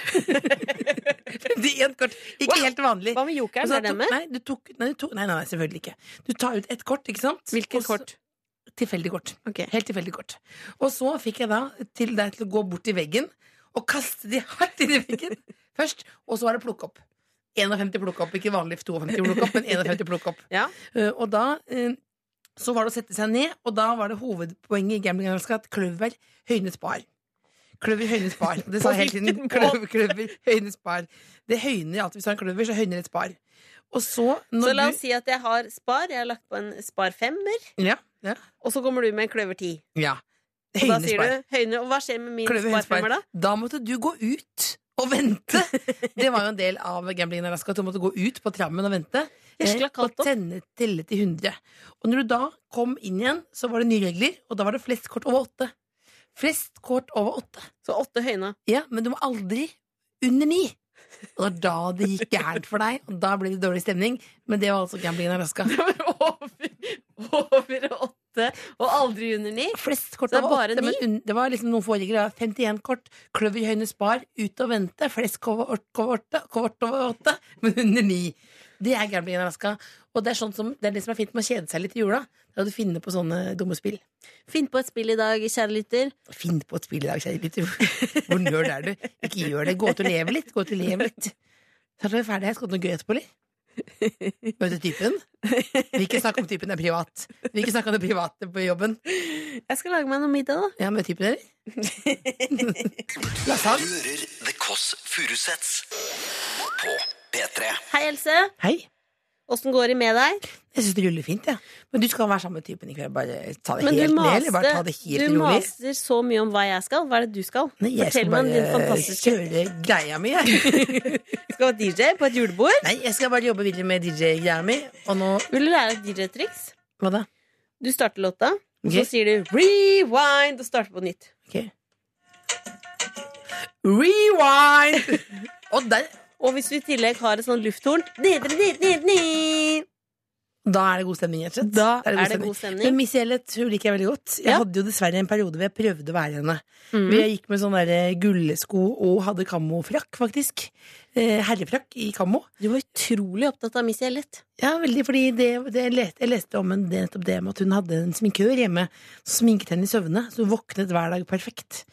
S2: 51 kort! Ikke
S1: Wow.
S2: helt vanlig.
S1: Hva med
S2: Og
S1: jokeren?
S2: så
S1: Er den
S2: tok-
S1: med?
S2: Nei, du tok, nei, du tok, nei, nei, nei, selvfølgelig ikke. Du tar ut et kort, ikke sant? Og
S1: Hvilket
S2: så-
S1: kort?
S2: Tilfeldig kort.
S1: Ok.
S2: Helt tilfeldig kort. Og så fikk jeg da til deg til å gå bort til veggen og kaste de hardt inn i veggen først, og så var det plukke opp. 51 plukke opp, ikke vanlig 52 plukke opp, men 51 plukke opp.
S1: Ja.
S2: Eh, og da eh, så var det å sette seg ned, og da var det hovedpoenget i Gambling Alaska at kløver høynes bar. Kløver høynes bar. Det sa
S1: På
S2: jeg hele tiden.
S1: hvilken
S2: Kløver, kløver høynes bar. Det høyner alltid hvis du har en kløver, så høyner et spar. Og så, når
S1: Så la oss si at jeg har spar. Jeg har lagt på en spar femmer,
S2: du Ja. ja.
S1: og så kommer du med en kløver ti.
S2: ja.
S1: Og da
S2: Høynes
S1: sier
S2: bar.
S1: du høyne, og hva skjer med min
S2: Kløve
S1: sparefemmer da?
S2: hundespar. Da måtte du gå ut og vente. Det var jo en del av gamblingen i Alaska. At du måtte gå ut på trammen og vente.
S1: Jeg skulle ha
S2: eh,
S1: kalt
S2: og
S1: opp.
S2: tenne, telle til 100. Og når du da kom inn igjen, så var det nye regler, og da var det flest kort over åtte. Flest kort over åtte.
S1: Så åtte høyna.
S2: Ja, men du må aldri under ni. Og det var da det gikk gærent for deg, og da ble det dårlig stemning. Men det var altså gamblingen i Alaska.
S1: over, over åtte, og aldri under ni.
S2: Flest kort
S1: Så det er
S2: over
S1: bare
S2: åtte, men
S1: ni?
S2: un- det var liksom noen få regler. det var 51 kort, kløver høyne spar, ut og vente, flest kort over åt- over åtte, kort over åtte, men under ni. Det er gambling i Alaska. Og det er, sånn som, det er det som er fint med å kjede seg litt i jula. Da du finner på sånne dumme spill.
S1: Finn på et spill i dag, kjære lytter.
S2: Finn på et spill i dag, kjære lytter. Hvor nerd er du? Ikke gjør det. Gå ut og leve litt. Gå ut og leve litt. Snart er vi ferdige. Jeg skal ha noe gøy etterpå, eller? Møte typen? Vil ikke snakke om typen er privat. Vil ikke snakke om det private på jobben.
S1: Jeg skal lage meg noe middag, da.
S2: Ja, møte typen, eller?
S5: Du hører The Kåss Furuseths på P3.
S1: Hei, Else.
S2: Hei.
S1: Åssen går det med deg?
S2: Jeg syns det ruller fint, jeg. Ja. Men du skal være sammen med typen i kveld. Bare ta det
S1: Men du
S2: helt ned, eller bare ta
S1: maste,
S2: det
S1: du
S2: helt rolig.
S1: maser så mye om hva jeg skal. Hva er det du skal?
S2: Nei, jeg skal
S1: Fortell meg om din
S2: bare
S1: fantastiske
S2: kjøre greia mi, jeg.
S1: Du skal være DJ på et julebord.
S2: Nei, jeg skal bare jobbe videre med DJ-greia mi. Og nå
S1: Vil du lære et DJ-triks?
S2: Hva da?
S1: Du starter låta, og så
S2: Ok.
S1: sier du rewind og starter på nytt.
S2: Ok. Rewind! og der,
S1: Og hvis du i tillegg har et sånn lufthorn Da
S2: da er det god stemning, rett og slett.
S1: er det god
S2: Men
S1: stemning.
S2: Missy Elliot hun liker jeg veldig godt. Jeg
S1: Ja.
S2: hadde jo dessverre en periode hvor jeg prøvde å være henne.
S1: Mhm.
S2: Hvor jeg gikk med sånne der eh, gullesko og hadde kammofrakk, faktisk. Eh, herrefrakk i kammo.
S1: Du var utrolig opptatt av Missy Elliot.
S2: Ja, veldig, fordi det, det jeg, leste, jeg leste om en, det, nettopp det med at hun hadde en sminkør hjemme som sminket henne i søvne, så hun våknet hver dag perfekt.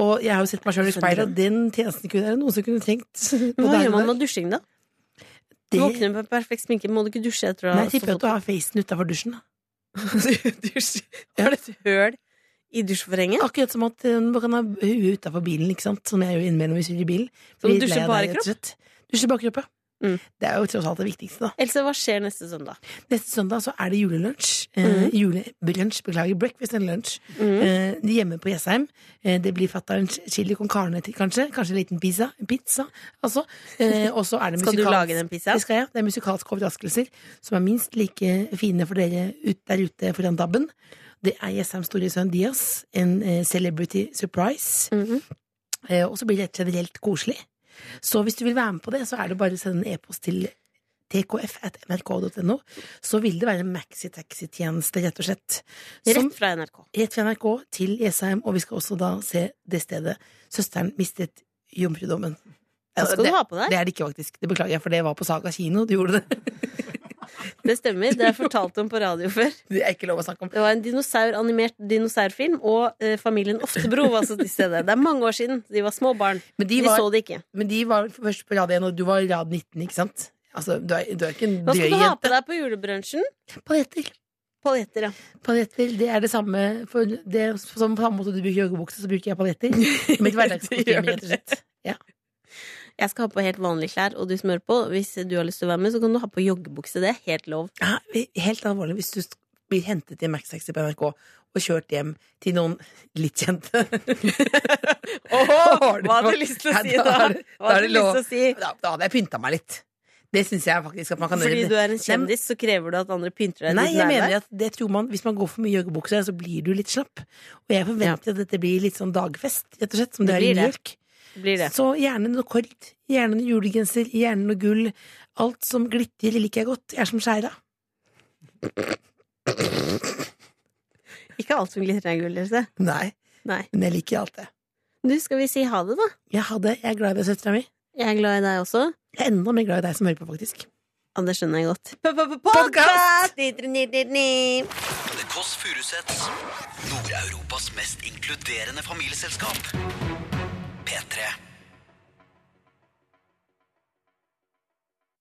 S2: Og jeg har jo sett meg sjøl i speilet, og den tjenesten kunne det noen som kunne trengt. på
S1: Hva
S2: dagen
S1: gjør man
S2: der.
S1: med dusjing, da? Du
S2: Det-
S1: våkner med perfekt sminke. Må du ikke dusje etter å
S2: Nei, jeg tipper at du har facen utafor dusjen. da.
S1: Dusj. Har du et høl i dusjforhenget?
S2: Akkurat som at eh, man kan ha huet utafor bilen, ikke sant? som jeg gjør innimellom hvis vi er i bilen.
S1: Så du
S2: Blir lei
S1: dusjer
S2: av
S1: bare
S2: deg, rett og
S1: kropp?
S2: slett. Dusjer bare kropp, ja.
S1: Mm.
S2: Det er jo tross alt det viktigste, da.
S1: Else, hva skjer neste søndag?
S2: Neste søndag så er det julelunsj. Eh,
S1: Mhm.
S2: Julelunsj, beklager, breakfast and lunch.
S1: Mm.
S2: Eh, hjemme på Jessheim. Eh, det blir fatterens chili con carne, til, kanskje. Kanskje en liten pizza. Pizza, altså. Eh, og så er det
S1: Skal du
S2: musikalsk-
S1: lage den pizzaen?
S2: Det skal jeg. Det er musikalske overraskelser som er minst like fine for dere ut der ute foran DAB-en. Det er Jessheim store sønn Dias. En eh, celebrity surprise.
S1: Mhm.
S2: eh, og så blir det rett og slett generelt koselig. Så hvis du vil være med på det, så er det bare å sende en e-post til tkf.nrk.no, så vil det være en maxitaxi-tjeneste, rett og slett. Som,
S1: Rett fra NRK.
S2: rett fra NRK til Jessheim, og vi skal også da se det stedet søsteren mistet jomfrudommen. Altså,
S1: Hva skal
S2: det,
S1: du ha på deg?
S2: det er det ikke, faktisk. Det beklager jeg, for det var på Saga kino. Du gjorde det.
S1: Det stemmer. Det har jeg fortalt om på radio før.
S2: Det er ikke lov å snakke om.
S1: Det var en dinosaur, animert dinosaurfilm, og eh, familien Oftebro var altså til stede. Det er mange år siden. De var små barn.
S2: Men de
S1: De
S2: var,
S1: så det ikke.
S2: men de var først på rad 1, og du var i rad 19, ikke sant? Altså, du er, du er ikke en
S1: Hva
S2: drøy
S1: skal du ha på
S2: jente.
S1: deg på julebrunsjen?
S2: Paljetter.
S1: Paljetter, ja.
S2: Paljetter, det er det samme for det, Som på samme måte du bruker joggebukse, så bruker jeg paljetter. Mitt hverdagsproblem,
S1: gjør
S2: rett og slett. Ja.
S1: Jeg skal ha på helt vanlige klær, og du smører på. Hvis du har lyst til å være med, så kan du ha på joggebukse. Det er helt lov.
S2: Ja, helt alvorlig, hvis du sk- blir hentet i Max 60 på NRK og kjørt hjem til noen litt kjente Har du- Ja, er det- da er det lov.
S1: si?
S2: Da, da hadde jeg pynta meg litt. Det syns jeg faktisk at man kan
S1: Fordi du er en kjendis, så krever du at andre pynter deg.
S2: Nei, jeg mener at det tror man Hvis man går for mye joggebukse, så blir du litt slapp. Og jeg forventer at dette blir litt sånn dagfest, rett og slett, som
S1: Det
S2: det, er i
S1: blir
S2: New
S1: det.
S2: York.
S1: Blir det.
S2: Så gjerne noe kord, gjerne noe julegenser, gjerne noe gull. Alt som glitrer, liker jeg godt. Jeg er som skjæra.
S1: Ikke alt som glitrer er gull, Else.
S2: Nei,
S1: Nei.
S2: men jeg liker alt det.
S1: Du, skal vi si ha det, da?
S2: Jeg, hadde, jeg er glad i deg, søstera mi.
S1: Jeg er glad i deg også.
S2: Jeg er enda mer glad i deg som hører på, faktisk.
S1: Ja, det skjønner jeg godt. Podcast!
S2: Podcast!
S5: The Kåss Furuseths. Nord-Europas mest inkluderende familieselskap. P3.